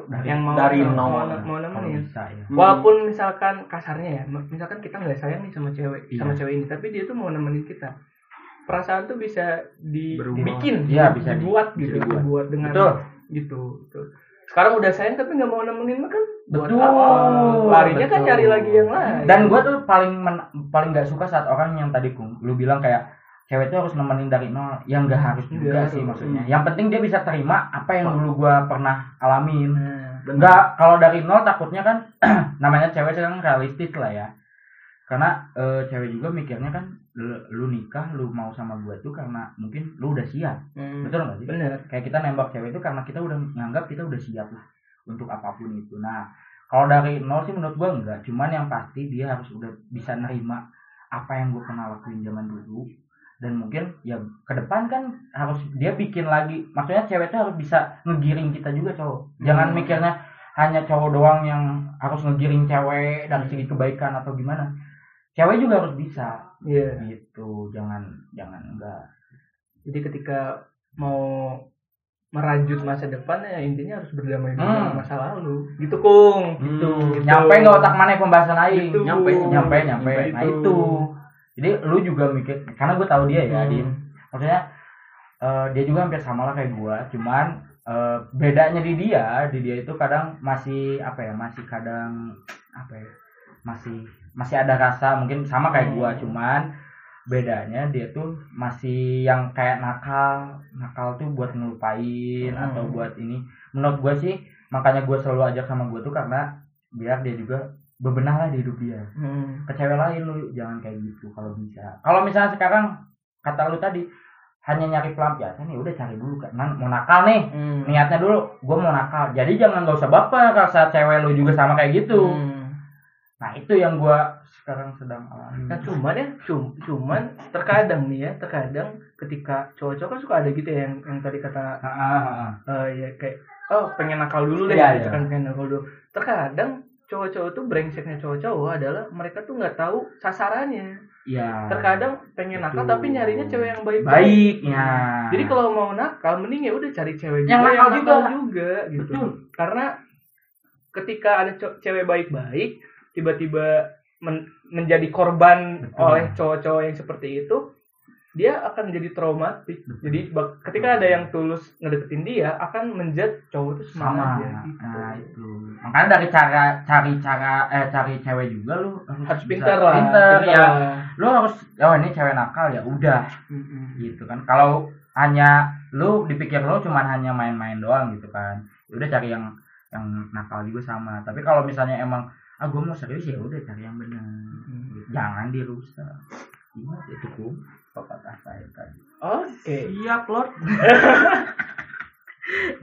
dari
yang mau
dari
mau,
nol.
mau, Iya, mau
kalau
nemenin.
bisa ya
Walaupun misalkan kasarnya ya, misalkan kita nggak sayang nih sama cewek,
Iya.
sama cewek ini, tapi dia tuh mau nemenin kita. Perasaan tuh bisa dibikin,
Iya, bisa di-
dibuat
bisa
gitu,
dibuat.
dibuat dengan
Betul.
gitu. betul. Sekarang udah sayang tapi nggak mau nemenin mah kan buat
Betul,
apa? Larinya kan
betul.
cari lagi yang lain.
dan gua tuh paling men- paling nggak suka saat orang yang tadi Gung, lu bilang kayak cewek tuh harus nemenin dari nol yang nggak harus juga
Nggak Iya,
sih
harus.
maksudnya yang penting dia bisa terima apa yang dulu gua pernah alamin
Nah,
Enggak, kalau dari nol takutnya kan (clears throat) namanya cewek sekarang realistis lah ya. Karena eh, cewek juga mikirnya kan lu, lu nikah, lu mau sama gua tuh karena mungkin lu udah siap.
hmm,
Betul nggak sih?
bener.
Kayak kita nembak cewek itu karena kita udah nganggap kita udah siap lah untuk apapun itu. Nah, kalau dari nol sih menurut gua enggak, cuman yang pasti dia harus udah bisa nerima apa yang gua pernah lakuin zaman dulu dan mungkin ya ke depan kan harus dia bikin lagi maksudnya cewek tuh harus bisa ngegiring kita juga cowok jangan
Hmm.
mikirnya hanya cowok doang yang harus ngegiring cewek dari segi kebaikan atau gimana cewek juga harus bisa
Iya.
gitu jangan jangan enggak
Jadi ketika mau merajut masa depan ya intinya harus berdamai dulu
Hmm.
sama masa lalu. Gitu kung.
gitu
gitu.
nyampe nggak otak mana pembahasan lain
Gitu.
nyampe nyampe nyampe
Nyampe
nah
itu.
itu jadi lu juga mikir karena gue tahu dia ya
Hmm.
Din maksudnya eh, dia juga hampir sama lah kayak gue cuman eh, bedanya di dia di dia itu kadang masih apa ya masih kadang apa ya masih masih ada rasa mungkin sama kayak
Hmm.
gua cuman bedanya dia tuh masih yang kayak nakal nakal tuh buat ngelupain
Hmm.
atau buat ini menurut gua sih makanya gua selalu ajak sama gua tuh karena biar dia juga bebenah lah di hidup dia
Hmm.
ke cewek lain lu jangan kayak gitu kalau bisa kalau misalnya sekarang kata lu tadi hanya nyari pelampiasan ya udah cari dulu kan mau nakal nih
Hmm.
niatnya dulu gue mau nakal jadi jangan gak usah baper rasa cewek lu juga sama kayak gitu
Hmm.
nah itu yang gue sekarang sedang alami
Nah cuman ya, cum- cuman terkadang nih ya, terkadang ketika cowok-cowok kan suka ada gitu ya yang, yang tadi kata
Ah, ah, ah.
eh, ya kayak oh pengen nakal dulu deh,
Iya,
gitu
iya.
kan pengen nakal dulu. Terkadang cowok-cowok tuh brengseknya cowok-cowok adalah mereka tuh nggak tahu sasarannya.
Iya.
Terkadang pengen nakal
Betul. ya.
tapi nyarinya cewek yang baik.
baiknya Nah.
Jadi kalau mau nakal mending ya udah cari cewek
Yang
juga
nakal juga.
juga gitu.
Betul.
Karena ketika ada co- cewek baik-baik tiba-tiba men- menjadi korban
Betul.
oleh cowok-cowok yang seperti itu dia akan menjadi traumatik. Jadi bak- ketika ada yang tulus ngedeketin dia akan menjat cowok itu sama
sama
aja gitu.
nah itu makanya dari cara cari cara eh cari cewek juga lu
Harus
bisa
pintar lah.
pinter,
pintar
ya
lah.
lu harus oh ini cewek nakal ya udah
Mm-mm.
gitu kan kalau hanya lu dipikir lu cuman hanya main-main doang gitu kan Ya udah cari yang yang nakal juga sama tapi kalau misalnya emang ah gua mau serius ya udah cari yang benar
Hmm.
jangan dirusak ingat itu kum pepatah saya tadi
Oke.
Siap, Lord.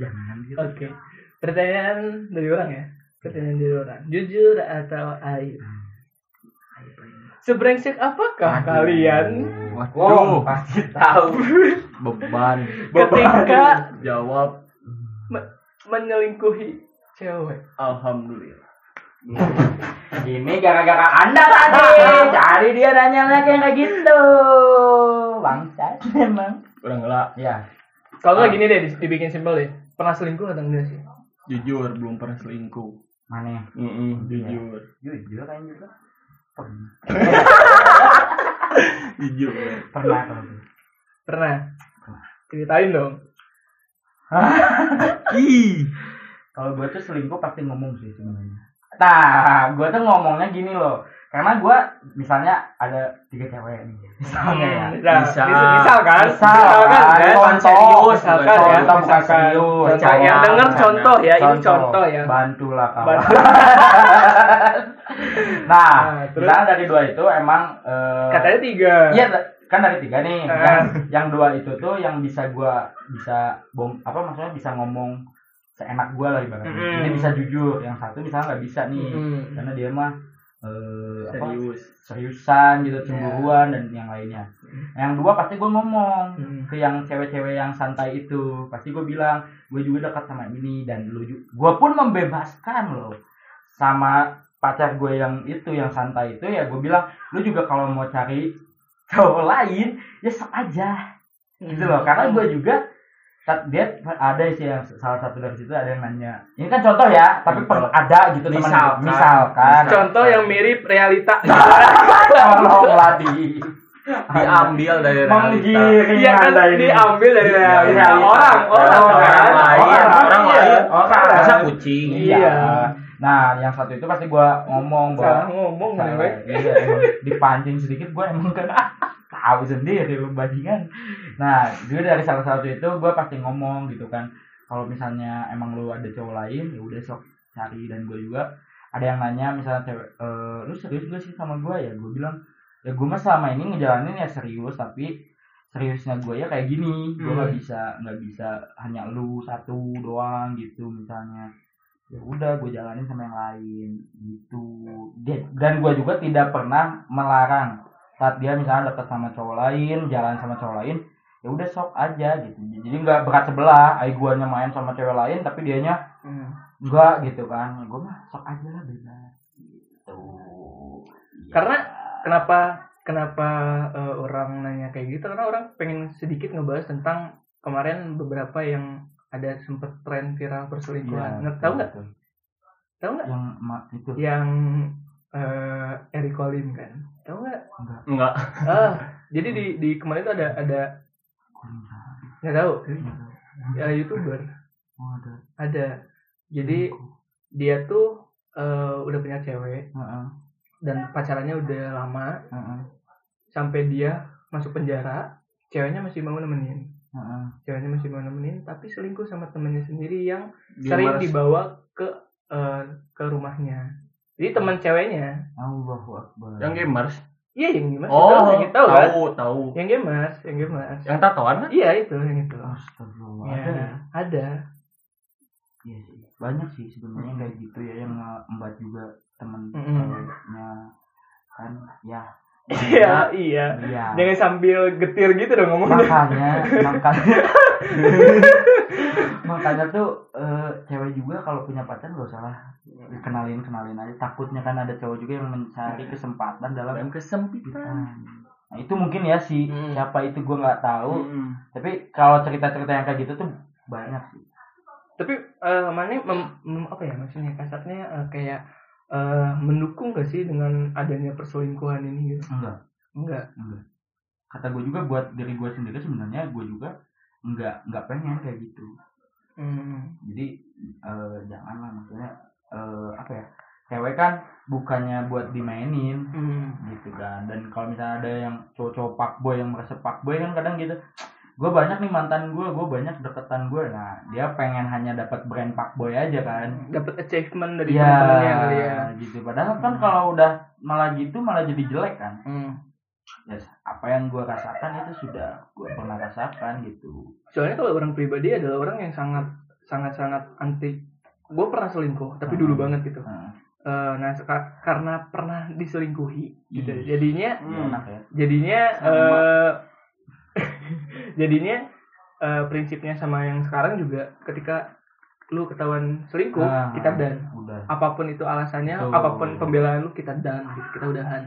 jangan dirusak
Oke. Pertanyaan dari orang ya. Pertanyaan dari orang. Jujur atau aib? Sebrengsek apakah
Hmm. Aduh.
kalian
waduh
pasti
tahu beban
ketika
jawab
me- menyelingkuhi cewek?
alhamdulillah
ini gara-gara anda (laughs) tadi cari dia nanya lagi kayak gitu bangsa emang
kurang lah
ya
Kalau nggak gini deh, dibikin simpel deh. Pernah selingkuh atau enggak sih?
jujur belum pernah selingkuh
mana
Mm-mm, jujur
jujur kan juga pernah
jujur
pernah kalau gitu.
Pernah. Ceritain dong.
ih
kalau gue tuh selingkuh pasti ngomong sih sebenarnya nah gue tuh ngomongnya gini loh karena gue misalnya ada tiga cewek nih (laughs) misalnya ya
Misal,
Bisa.
mis- misal Nah, kan?
Misal
kan?
kan?
ya?
Contoh.
Serius, misalkan ya?
Contoh, bukan
Misalkan.
serius.
Contoh. Yang
Contoh.
denger contoh ya, ini contoh ya.
bantulah kawan (laughs)
Bantu.
nah
Nah, terus?
misalnya dari dua itu emang eh,
(laughs) Katanya tiga.
Iya, kan dari tiga nih.
Nah.
Yang, yang dua itu tuh yang bisa gua bisa bong apa maksudnya bisa ngomong seenak gua lah ibaratnya.
Mm-mm. Mm-hmm.
Ini bisa jujur. Yang satu misalnya nggak bisa nih,
Mm-mm.
karena dia mah eh, apa,
serius
seriusan
Iya.
gitu cemburuan dan yang lainnya Nah, yang dua pasti gue ngomong
Hmm.
ke yang cewek-cewek yang santai itu pasti gue bilang gue juga dekat sama ini dan lu gue pun membebaskan loh sama pacar gue yang itu yang santai itu ya gue bilang lu juga kalau mau cari cowok lain ya sok aja gitu loh
Hmm.
karena gue juga saat dia ada sih yang salah satu dari situ ada yang nanya ini kan contoh ya tapi per- ada gitu teman
Misalkan.
misalkan
Hmm. contoh yang mirip realita
Nah, tolonglah di
diambil dari realita
menggiring
(laughs) iya kan
Anda nah, ini. Iya,
diambil dari realita iya. orang
Nah,
orang
Orang
kan
lain,
Orang,
orang
iya.
lain. Orang.
masa kucing
Iya.
Iya. Nah, yang satu itu pasti gua ngomong
salah
bahwa
ngomong nih
Salah.
Wei.
Iya, emang. dipancing sedikit gua emang kan (laughs) ah, tahu sendiri lu bajingan. Nah, gue dari salah satu itu gua pasti ngomong gitu kan. Kalau misalnya emang lu ada cowok lain, ya udah sok cari dan gue juga ada yang nanya misalnya cewek, "Eh, lu serius gak sih sama gua ya? Gue bilang ya gue mah selama ini ngejalanin ya serius tapi seriusnya gue ya kayak gini gue nggak bisa nggak bisa hanya lu satu doang gitu misalnya ya udah gue jalanin sama yang lain gitu Dia- dan gue juga tidak pernah melarang saat dia misalnya deket sama cowok lain jalan sama cowok lain ya udah sok aja gitu jadi nggak berat sebelah ayo guanya main sama cewek lain tapi dianya
Hmm.
enggak gitu kan gue mah sok aja lah bebas gitu
Karena- kenapa kenapa eh, orang nanya kayak gitu karena orang pengen sedikit ngebahas tentang kemarin beberapa yang ada sempet tren viral perselingkuhan Nggak tahu nggak
gitu.
tahu nggak
yang ma- itu
yang eh Eric Colin kan tahu
(laughs)
nggak
enggak
ah jadi di di kemarin tuh ada ada nggak tahu
Hmm. gitu.
ya youtuber ada jadi dia tuh eh, udah punya cewek
Heeh,
dan pacarannya udah lama
heeh,
sampai dia masuk penjara ceweknya masih mau nemenin
heeh.
ceweknya masih mau nemenin tapi selingkuh sama temennya sendiri yang
Dia
sering
malas.
dibawa ke eh, ke rumahnya jadi teman ceweknya
Allahu Akbar.
yang gamers
iya yang gimana
oh
tahu, tahu kan
tahu tahu
yang gamers yang gamers
yang tatoan kan
iya itu yang itu
Astagfirullah.
Ya,
Ada ya?
ada
Iya sih. Banyak sih sebenarnya kayak gitu ya yang ngembat juga temen
Mm-mm.
ceweknya kan ya.
(laughs) (laughs) iya iya
Iya.
jangan sambil getir gitu dong ngomongnya
Makanya, makanya makanya tuh eh, cewek juga kalau punya pacar gak usah lah kenalin kenalin aja takutnya kan ada cowok juga yang mencari kesempatan dalam
dalam kesempitan
Nah, itu mungkin ya si
Hmm.
siapa itu gue nggak tahu.
Mm-mm.
Tapi kalau cerita-cerita yang kayak gitu tuh banyak sih.
tapi eh mana mem- mem- apa ya maksudnya kasarnya eh, kayak eh, mendukung gak sih dengan adanya perselingkuhan ini gitu
Enggak.
enggak
Kata gue juga buat diri gue sendiri sebenarnya gue juga nggak nggak pengen kayak gitu.
Hmm.
Jadi eh, janganlah maksudnya eh, apa ya? Cewek kan bukannya buat dimainin
Hmm.
gitu kan dan kalau misalnya ada yang cowok-cowok fuckboy yang merasa fuckboy kan kadang gitu gue banyak nih mantan gue gue banyak deketan gue nah dia pengen hanya dapat brand fuckboy aja kan
dapat achievement dari
Iya,
teman-temannya kali ya.
gitu. Padahal kan kalau udah malah gitu malah jadi jelek kan.
Hmm.
Ya, apa yang gua rasakan itu sudah gua pernah rasakan gitu.
Soalnya kalau orang pribadi adalah orang yang sangat sangat sangat anti. Gue pernah selingkuh, tapi dulu
Hmm.
banget gitu.
Nah,
Eh, nah seka- karena pernah diselingkuhi, gitu.
Ih.
Jadinya
ya enak ya.
jadinya
Sama.
eh (laughs) jadinya eh, prinsipnya sama yang sekarang juga ketika lu ketahuan selingkuh
Ah,
kita dan
Udah.
apapun itu alasannya,
Betul.
apapun pembelaan lu kita dan kita udahan.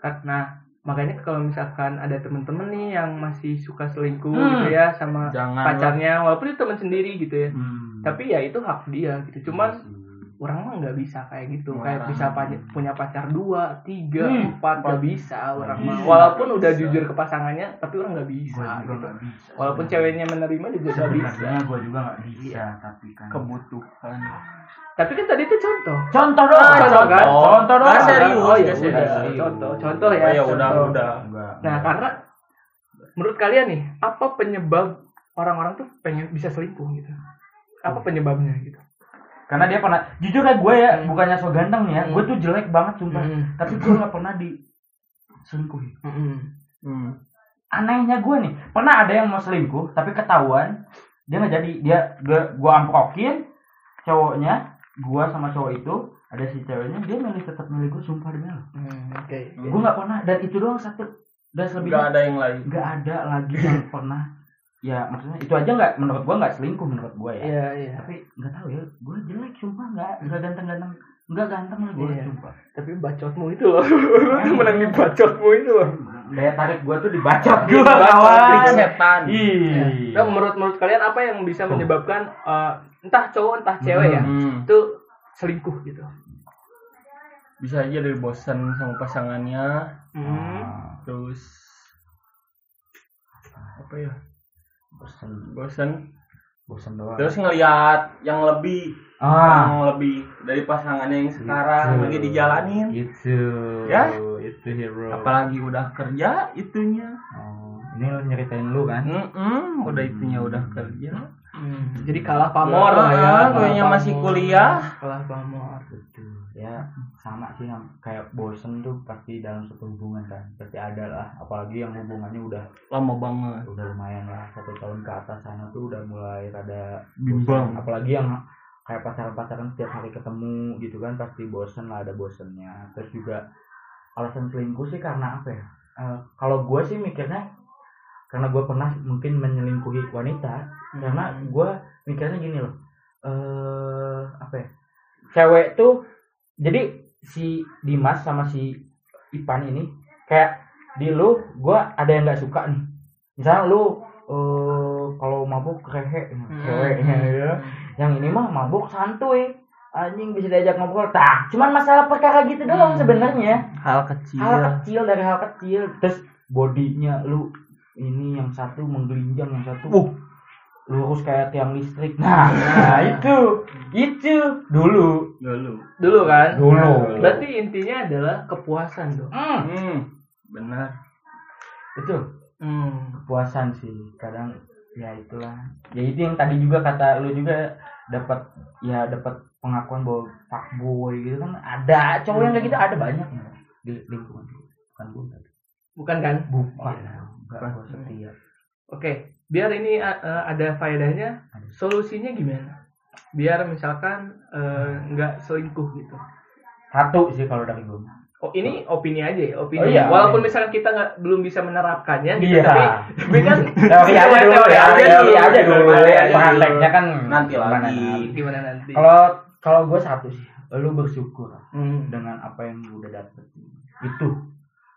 Karena makanya kalau misalkan ada temen-temen nih yang masih suka selingkuh
Hmm.
gitu ya sama
jangan
pacarnya, walaupun itu teman sendiri gitu ya.
Hmm.
Tapi ya itu hak dia gitu. Cuman orang mah nggak bisa kayak gitu. Kayak
Orang.
bisa pa- punya pacar dua, tiga,
Hmm.
empat nggak bisa orang mah.
bisa.
Walaupun udah
Bisa.
jujur ke pasangannya, tapi orang nggak
Iya Gua
bisa
juga
gitu.
nggak bisa.
Walaupun ceweknya menerima juga nggak bisa. Iya.
sebenarnya gua juga nggak bisa, tapi kan
kebutuhan
Tapi kan tadi itu contoh.
Contoh dong,
Ah, contoh kan?
Contoh dong.
Nggak serius,
Oh,
iya,
ya
nggak serius.
udah. Contoh, contoh ya.
Oh, ya udah,
contoh.
udah.
Enggak.
Nah, karena menurut kalian nih, apa penyebab orang-orang tuh pengen bisa selingkuh gitu? Apa penyebabnya gitu?
karena dia pernah jujur ya gue ya
Hmm.
bukannya so ganteng ya
Hmm.
gue tuh jelek banget sumpah
Hmm.
tapi gue nggak pernah diselingkuhin anehnya gue nih pernah ada yang mau selingkuh tapi ketahuan dia nggak jadi dia gue gue amprokin cowoknya gue sama cowok itu ada si ceweknya dia milih tetap milih gue sumpah demi Allah
Hmm, oke.
gue nggak pernah dan itu doang satu dan
nggak
selebihnya
ada yang lain
nggak ada lagi (clears throat) yang pernah ya maksudnya itu aja nggak menurut gue nggak selingkuh menurut gue ya
Iya, iya.
tapi nggak tahu ya gue jelek sumpah nggak nggak ganteng ganteng nggak ganteng lah gue
Iya.
sumpah
Tapi bacotmu itu loh. (laughs) Lu tuh menangin bacotmu itu loh.
daya tarik gue tuh Iya, dibacot Ah,
Gua kawan.
Itu setan
Ih.
Iya.
Nah, menurut menurut kalian apa yang bisa menyebabkan eh, entah cowok entah cewek ya
Oh. Hmm.
itu selingkuh gitu?
bisa aja dari bosan sama pasangannya
Hmm.
Ah,
terus apa ya
bosen
bosan
bosen doang
terus ngelihat yang lebih
ah
yang lebih dari pasangannya yang sekarang lagi dijalanin
itu
Ya?
Gitu. itu hero
apalagi udah kerja itunya
Oh, ini lo nyeritain lu kan
Mm-mm, udah itunya udah kerja
Jadi kalah pamor lah ya.
Hmm. Ah,
kalah
kayaknya
pamor.
masih kuliah.
Kalah pamor.
Betul. ya sama sih Nam. kayak bosen tuh pasti dalam satu hubungan kan pasti ada lah apalagi yang hubungannya udah
lama banget
udah lumayan lah satu tahun ke atas sana tuh udah mulai rada
Bimbang.
bosan. apalagi yang kayak pacaran-pacaran setiap hari ketemu gitu kan pasti bosen lah ada bosennya terus juga alasan selingkuh sih karena apa ya Eh, kalau gue sih mikirnya karena gue pernah mungkin menyelingkuhi wanita karena gue mikirnya gini loh eh apa ya cewek tuh jadi si Dimas sama si Ipan ini kayak di lu gue ada yang nggak suka nih misalnya lu eh kalau mabuk kerehe ceweknya ya yang ini mah mabuk santuy anjing bisa diajak ngobrol tak cuman masalah perkara gitu doang sebenarnya
hal kecil
hal kecil dari hal kecil Iya. terus bodinya lu ini yang satu menggelinjang yang satu
Uh.
lurus kayak tiang listrik nah, nah itu itu dulu
Hmm. dulu
Dulu kan?
dulu
Berarti intinya adalah kepuasan dong.
Hmm,
hmm, benar
betul
Hmm.
kepuasan sih kadang ya itulah ya itu yang tadi juga kata lu juga dapat ya dapat pengakuan bahwa fuckboy gitu kan ada cowok yang kayak gitu ada banyak nggak? di lingkungan gue. bukan gue tapi
Bukan kan?
bukan enggak gue setia
Oke, biar ini eh, ada faedahnya, solusinya gimana? Biar misalkan eh, nggak selingkuh gitu.
satu sih kalau dari gue
Oh ini opini aja ya, opini.
Oh, iya.
Walaupun misalkan kita nggak belum bisa menerapkannya, gitu,
Iya.
tapi, (laughs) tapi kan
teori aja
Teori
dulu ya
aja gitu.
teori
dulu.
aja dulu
Teori aja dulu.
prakteknya kan
Nanti
gimana,
lagi.
Nam?
gimana nanti?
kalau kalau gue satu sih lu bersyukur
Hmm.
dengan apa yang lu udah dapet itu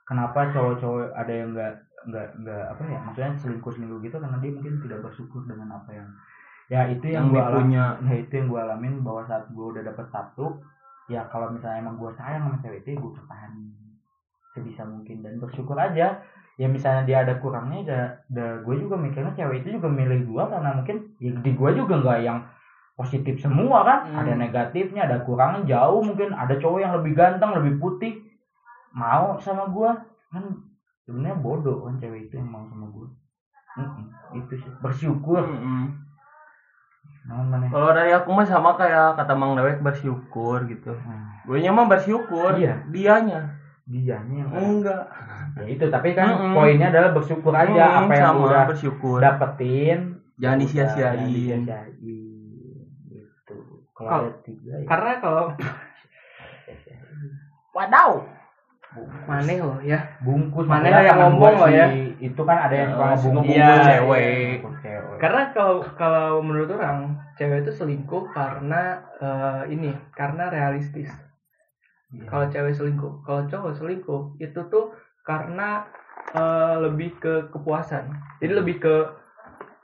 kenapa cowok-cowok ada yang nggak nggak nggak apa ya maksudnya selingkuh selingkuh gitu karena dia mungkin tidak bersyukur dengan apa yang ya itu yang,
Yang
gue
dia
alami
punya.
ya itu yang gue alamin bahwa saat gue udah dapet satu ya kalau misalnya emang gue sayang sama cewek itu gue pertahan sebisa mungkin dan bersyukur aja ya misalnya dia ada kurangnya ya, gue juga mikirnya cewek itu juga milih gue karena mungkin ya di gue juga nggak yang positif semua kan
Hmm.
ada negatifnya ada kurangnya jauh mungkin ada cowok yang lebih ganteng lebih putih mau sama gua kan sebenarnya bodoh kan cewek itu yang mau sama gua Mm-mm, itu sih bersyukur
Mm-mm.
Nah, mana
Hmm. kalau dari aku mah sama kayak kata mang dewek bersyukur gitu
Nah,
gue mah bersyukur
Iya.
dianya
dianya yang
enggak
ya itu tapi kan
Oh. Mm-mm.
poinnya adalah bersyukur aja
Mm,
apa yang
sama
udah
bersyukur
dapetin
jangan
udah, jangan
disia-siain
disia-siain. gitu kalau
Kalau-
ada tiga ya
Karena kalau (laughs)
wadaw
maneh loh ya,
bungkus
Mana
Makanya
yang
tangan
ngomong
gua
loh
sih,
ya.
itu kan ada yang suka
Ya,
ngebungkus
suka bungkus
Iya,
cewek.
iya, ngebungkus cewek.
karena kalau kalau menurut orang cewek itu selingkuh karena eh, ini, karena realistis.
Iya.
Kalau cewek selingkuh, kalau cowok selingkuh itu tuh karena eh, lebih ke kepuasan. Jadi lebih ke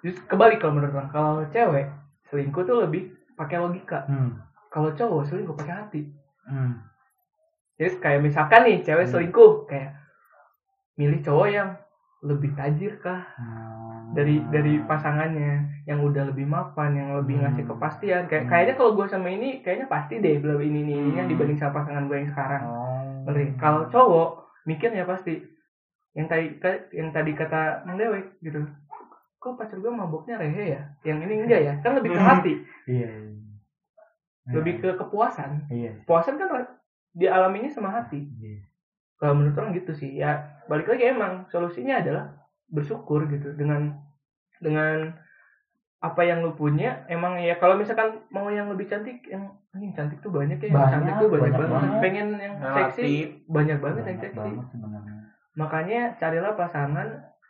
just kebalik kalau menurut orang. Kalau cewek selingkuh tuh lebih pakai logika.
Hmm,
Kalau cowok selingkuh pakai hati.
hmm.
Jadi kayak misalkan nih cewek selingkuh kayak milih cowok yang lebih tajir kah
Hmm.
dari dari pasangannya yang udah lebih mapan yang lebih ngasih kepastian kayak kayaknya kalau gue sama ini kayaknya pasti deh belum ini ini ini yang dibanding sama pasangan gue yang sekarang
Oh.
Ngeri. kalau cowok mikirnya pasti yang tadi ka- yang tadi kata Mang Dewek gitu kok pacar gue maboknya rehe ya yang ini enggak ya kan lebih ke hati
Iya.
lebih ke kepuasan
Iya.
kepuasan kan dialaminya sama hati
Iya.
kalau menurut orang gitu sih ya balik lagi emang solusinya adalah bersyukur gitu dengan dengan apa yang lu punya emang ya kalau misalkan mau yang lebih cantik yang anjing cantik tuh banyak ya yang
Banyak,
cantik tuh banyak,
banyak
banget.
banget.
pengen yang
Nah,
seksi
Relatif.
banyak banget yang
Banyak
seksi
banget sebenarnya.
makanya carilah pasangan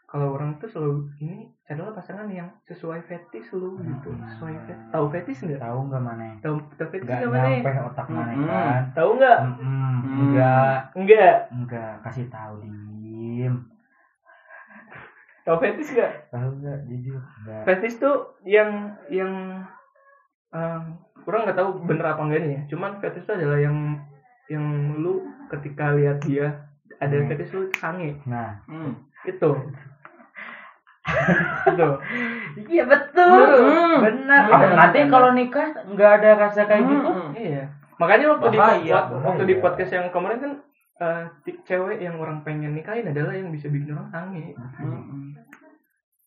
kalau orang tuh selalu ini carilah pasangan yang sesuai fetish lu gitu
Hmm.
sesuai fetish tahu fetish nggak
Tahu nggak mana?
tahu tahu fetish
Nggak
nggak
nyampe
mana
otak mana
Mm-mm.
kan?
tahu nggak
eh. Mm-mm.
Hmm.
Nggak,
nggak
nggak kasih tahu diem.
tahu fetish nggak
Tahu nggak jujur? Nggak.
fetish tuh yang yang eh, kurang nggak tahu bener apa enggak nih ya cuman fetish tuh adalah yang yang lu ketika lihat dia ada
Hmm.
fetish lu sange
Nah,
Hmm.
(laughs)
itu itu
iya betul.
benar
Apa-
Nah, nanti kalau nikah nggak ada rasa kayak gitu?
Hmm,
iya makanya waktu di
Bahaya,
waktu, waktu di
bahaya. Iya.
podcast yang kemarin kan eh, ti- cewek yang orang pengen nikahin adalah yang bisa bikin orang sange
hmm.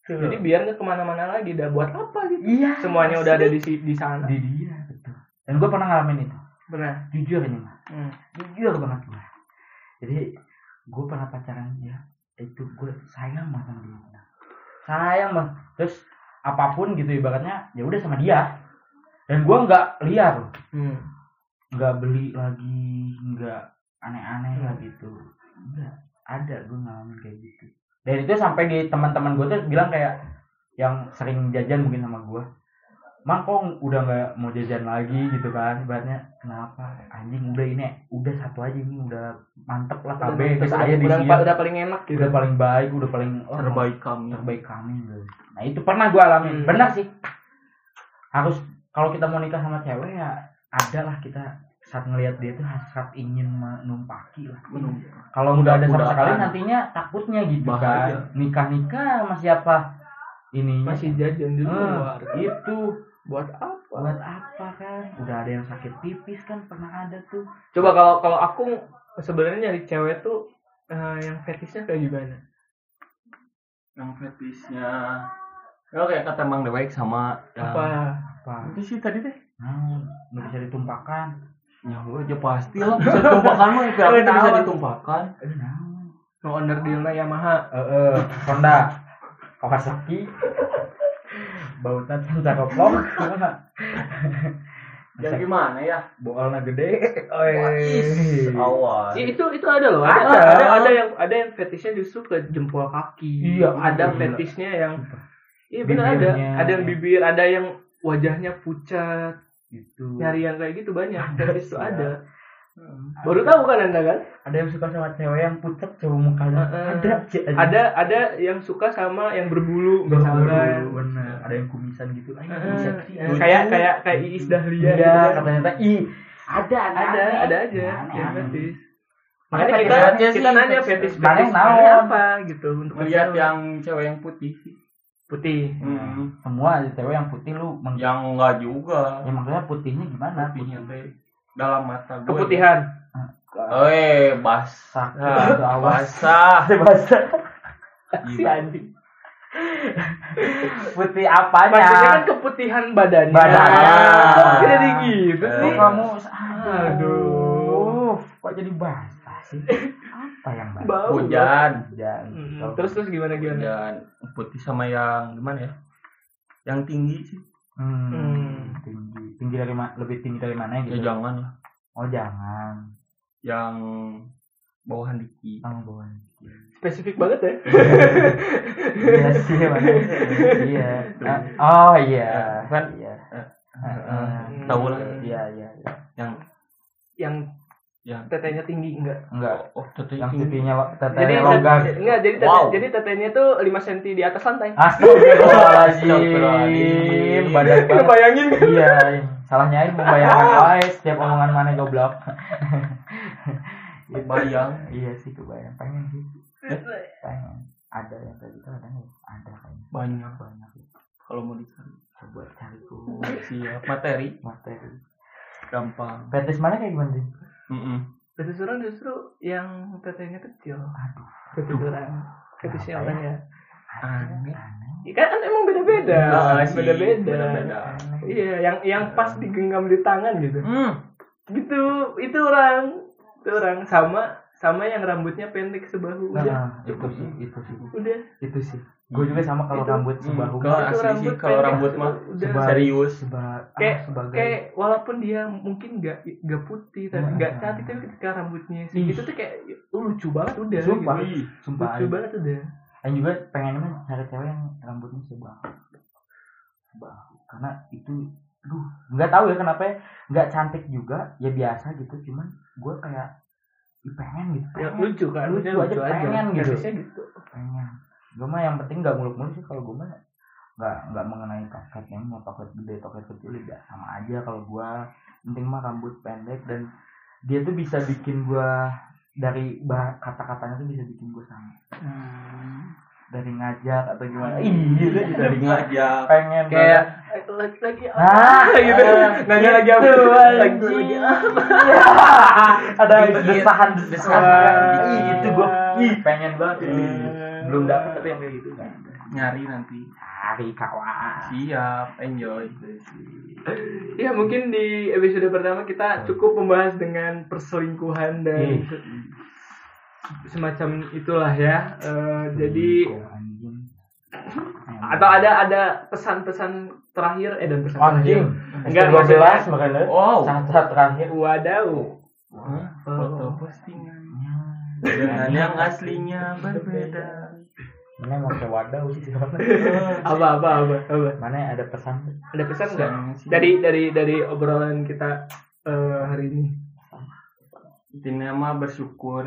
jadi biar nggak kemana-mana lagi dah buat apa gitu
Iya.
semuanya udah ada di si- di sana
Di dia betul. Dan gue pernah ngalamin itu.
benar
Jujur ini mah.
Hmm.
Jujur banget gue. Jadi gue pernah pacaran dia. Itu gue sayang banget sama dia. Sayang banget. Terus apapun gitu ibaratnya ya udah sama dia. Dan gue nggak liar loh.
Hmm.
nggak beli lagi nggak aneh-aneh lah
Hmm.
gitu nggak ada gue ngalamin kayak gitu dan itu sampai di teman-teman gue tuh bilang kayak yang sering jajan mungkin sama gue Mang kok udah nggak mau jajan lagi gitu kan ibaratnya kenapa anjing udah ini udah satu aja ini udah mantep lah KB terus
udah,
gitu aja di
udah,
sini
pa- udah paling enak gitu
udah paling baik udah paling oh,
terbaik kami
terbaik kami gitu. Nah itu pernah gue alami,
Hmm.
benar sih. Harus kalau kita mau nikah sama cewek ya adalah kita saat ngelihat dia tuh hasrat ingin menumpaki lah. Kalau nggak ada sama
Mudah-mudahan.
sekali nantinya takutnya gitu
Bahaya.
kan. Nikah nikah sama siapa ini?
masih jajan di luar Iya,
itu
buat apa
buat apa kan? Udah ada yang sakit pipis kan pernah ada tuh.
coba kalau kalau aku sebenarnya nyari cewek tuh eh, yang fetishnya kayak gimana
yang fetishnya ya kayak kata Mang Dewek sama
apa
ya,
Apa?
itu sih tadi deh
Nah, nggak bisa ditumpahkan.
ya lu aja pasti lah bisa ditumpahkan mah Oh, itu
Lu
bisa
tahu.
ditumpahkan
Eh, nah.
no under deal Yamaha
Eh, eh, Honda, Kawasaki, bautnya tanca keplok,
ya gimana ya
boalnya gede,
Eh, iya.
oi,
awal
Ih, Iya, itu itu ada loh ada
Ada.
ada, ada, yang ada yang fetishnya justru ke jempol kaki
Iya,
ada
gila.
fetishnya yang iya benar ada
Bibirnya.
ada yang bibir ada yang wajahnya pucat
itu.
nyari yang kayak gitu banyak fetish tuh
iya.
Hmm. ada baru tahu kan anda kan
Ada yang suka sama cewek yang pucat cowok mukanya,
Eh, eh.
ada, Ce-
ada ada yang suka sama yang berbulu
Nggak
misalkan
bener, bener. ada yang kumisan gitu, ayo
Heeh.
seksi,
Yang Eh, kayak kayak kayak Iis Dahlia gitu
iya,
kan.
katanya teh, i, ada,
ada ada aja Iya,
aneh,
yang
aneh.
fetish
nah. makanya
makanya kita
kayak
aja
kita
sih,
nanya
fetish.
fetish
Makanya
fetish
kenapa?
kalian apa gitu untuk
melihat
cewek.
yang cewek yang putih
putih
Hmm.
semua cewek yang putih lu, meng- ya.
yang enggak juga
maksudnya putihnya gimana?
putihnya teh dalam mata gue
keputihan
eh basah
Sakit, itu awas.
(laughs) basah
bahasa
Gitu.
putih
maksudnya kan
apanya
keputihan badannya
Badannya.
Kok jadi gitu
Eh.
sih
kok Iya. kamu
Aduh.
aduh kok jadi basah sih apa yang basah Hmm,
bau
hujan
hujan
Mm, terus terus gimana gimana
hujan putih sama yang gimana ya yang tinggi sih
Hmm,
Hmm.
tinggi tinggi dari ma- lebih tinggi dari mana
ya
gitu
jangan lah
oh jangan
yang bawahan dikit
kamu bawa
spesifik banget ya
iya sih mana iya Ah, oh iya
Kan?
iya
Eh.
Ah,
Hmm.
tahu lah
iya iya iya.
yang
(laughs) yang
yang
tetenya tinggi enggak
enggak
oh teteh
yang
tinggi
pipinya lo-
jadi
tetenya longgar
enggak jadi tete,
Wow.
jadi tetenya tuh 5 cm di atas lantai
Ah, Astagfirullahaladzim Badan banget
(laughs) bayangin
(laughs) Iya Salahnya ini membayangkan Ay, eh, setiap omongan mana
(laughs)
goblok
Kebayang.
Iya sih kebayang Pengen sih Pengen Ada yang kayak gitu ada nggak? Ada kayaknya
banyak
Banyak
kalau mau dicari
Coba cari tuh
siap materi
Materi
gampang
Petis mana kayak gimana sih?
Mm-mm.
Fetis orang justru yang tetenya kecil.
Aduh
Fetis orang. Fetisnya
Kenapa
orang ya.
ya?
aneh
Iya kan emang beda-beda.
Iya sih,
Beda-beda.
beda-beda.
Iya, yang yang pas digenggam di tangan gitu.
Hmm.
Gitu, itu orang. Itu orang sama sama yang rambutnya pendek sebahu udah
Nah, itu sih, itu sih,
udah
itu sih. Gue juga sama kalau
Iya. Itu.
rambut sebahu.
Kalau
Itu
asli sih,
rambut
kalau
pendek
rambut mah
udah.
serius.
Seba, ah,
Kayak-
sebagai
kayak walaupun dia mungkin gak gak putih tapi
Nah.
gak cantik tapi ketika rambutnya sih
Ih.
itu tuh kayak "Oh, lucu banget udah
Sumpah.
gitu.
sumpah.
lucu banget udah
Dan juga pengennya mah cari cewek yang rambutnya sebahu. Sebahu. Karena itu duh, nggak tahu ya kenapa ya. Nggak cantik juga, ya biasa gitu, cuman gue kayak ih, pengen gitu.
ya,
Pengen.
lucu kan
Lucu
Maksudnya
aja, pengen gitu.
Kasusnya gitu
pengen. Gue mah yang penting nggak muluk-muluk sih kalau gue mah nggak nggak mengenai toket yang mau toket gede toket kecil ya sama aja kalau gua penting mah rambut pendek dan dia tuh bisa bikin gua dari bah- kata-katanya tuh bisa bikin gua sama
Hmm.
dari ngajak atau gimana ih gitu
Dari ngajak.
pengen
kayak lagi lagi
banget. nah
(laughs) gitu nanya lagi apa
gitu,
lagi
anjing.
lagi
(laughs) ada
Dingin.
desahan desahan
Iya. Wah. Iya.
Ih, itu gua ih pengen banget belum dapet tapi yang kayak gitu
Nyari nanti.
cari kawan
Siap, enjoy.
ya mungkin di episode pertama kita cukup membahas dengan perselingkuhan dan
Iya.
se- semacam itulah ya Eh, jadi
Anjing.
atau ada ada pesan-pesan terakhir eh dan pesan
anjing
terakhir Enggak,
dua belas
maksudnya-
makanya
Wow.
saat terakhir
Wadau.
Foto postingan dengan yang aslinya berbeda.
mana mau ke wadah sih
Apa apa apa apa.
mana ada pesan
Ada pesan enggak?
Pesan sih.
Dari dari dari obrolan kita eh, hari ini.
Intinya mah bersyukur.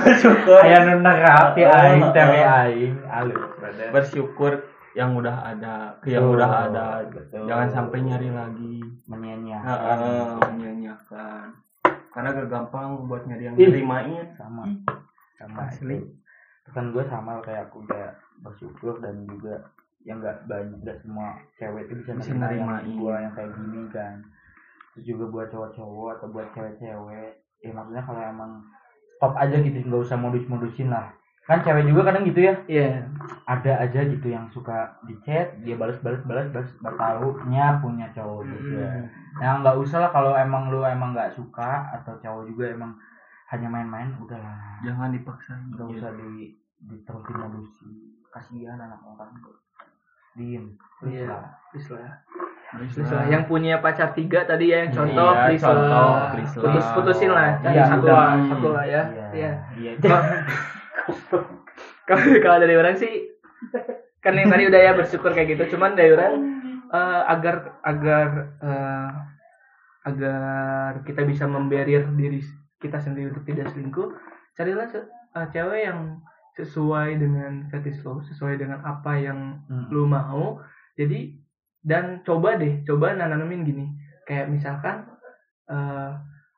bersyukur aya nu nerati aing teh we aing alus badan
Bersyukur yang udah ada, ke yang
Betul,
udah ada.
betul.
Jangan sampai nyari Ah, lagi.
menyanyiakan
Heeh, menyanyiakan. Karena gak gampang buat nyari yang nerimain.
sama sama
Asli.
itu. pesan gue sama kayak aku udah bersyukur dan juga yang nggak banyak nggak semua cewek itu bisa
Bisa
nerima yang
nerimain.
gue yang kayak gini kan terus juga buat cowok-cowok atau buat cewek-cewek ya maksudnya kalau emang stop aja gitu nggak usah modus-modusin lah kan cewek juga kadang gitu ya
Iya.
ada aja gitu yang suka di chat dia balas balas balas balas nggak tahunya punya cowok juga nah nggak usah lah kalau emang lu emang nggak suka atau cowok juga emang hanya main-main udah lah
Jangan dipaksain.
nggak
Iya.
usah di diterusin emosi kasihan anak orang kok diem
Iya.
Please lah.
Please lah.
Please
Please lah.
lah.
Yang punya pacar tiga tadi ya, yang contoh,
Nah. Iya,
please
contoh,
lah.
please lah.
Putus putusin lah, cari
Iya,
satu
udah.
lah, satu lah ya. Iya.
iya iya
Kalau kalau dari orang sih kan yang tadi udah ya bersyukur kayak gitu, cuman dari orang eh, agar agar eh, agar kita bisa memberir diri kita sendiri untuk tidak selingkuh, carilah se- eh, cewek yang sesuai dengan fetish lo, sesuai dengan apa yang
Hmm.
lu mau. Jadi dan coba deh, coba nanamin gini. Kayak misalkan eh,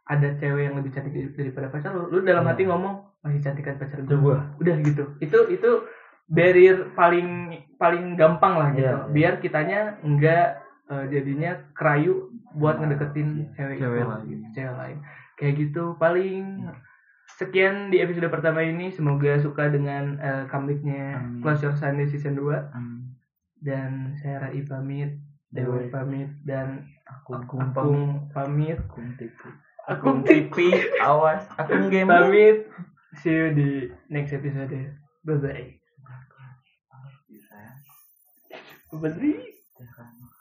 ada cewek yang lebih cantik dari- daripada pacar lu, lu dalam hati ngomong masih cantikan pacar gue.
Mm. Coba.
Udah gitu. Itu itu barrier paling paling gampang lah gitu.
Iya, iya.
Biar kitanya enggak eh, jadinya kerayu
Iya,
buat ngedeketin cewek
Cewek
itu,
lain.
cewek lain. Kayak gitu paling sekian di episode pertama ini semoga suka dengan eh, comebacknya
Amin.
Close Your Sunday season 2
Hmm,
dan saya Rai pamit, Dewi
Dewi.
pamit dan
aku aku
Akung pamit,
tipu
Akung
Tipi, awas. Aku game.
pamit. See you di next episode. Bye bye. Apa sih?
Terus,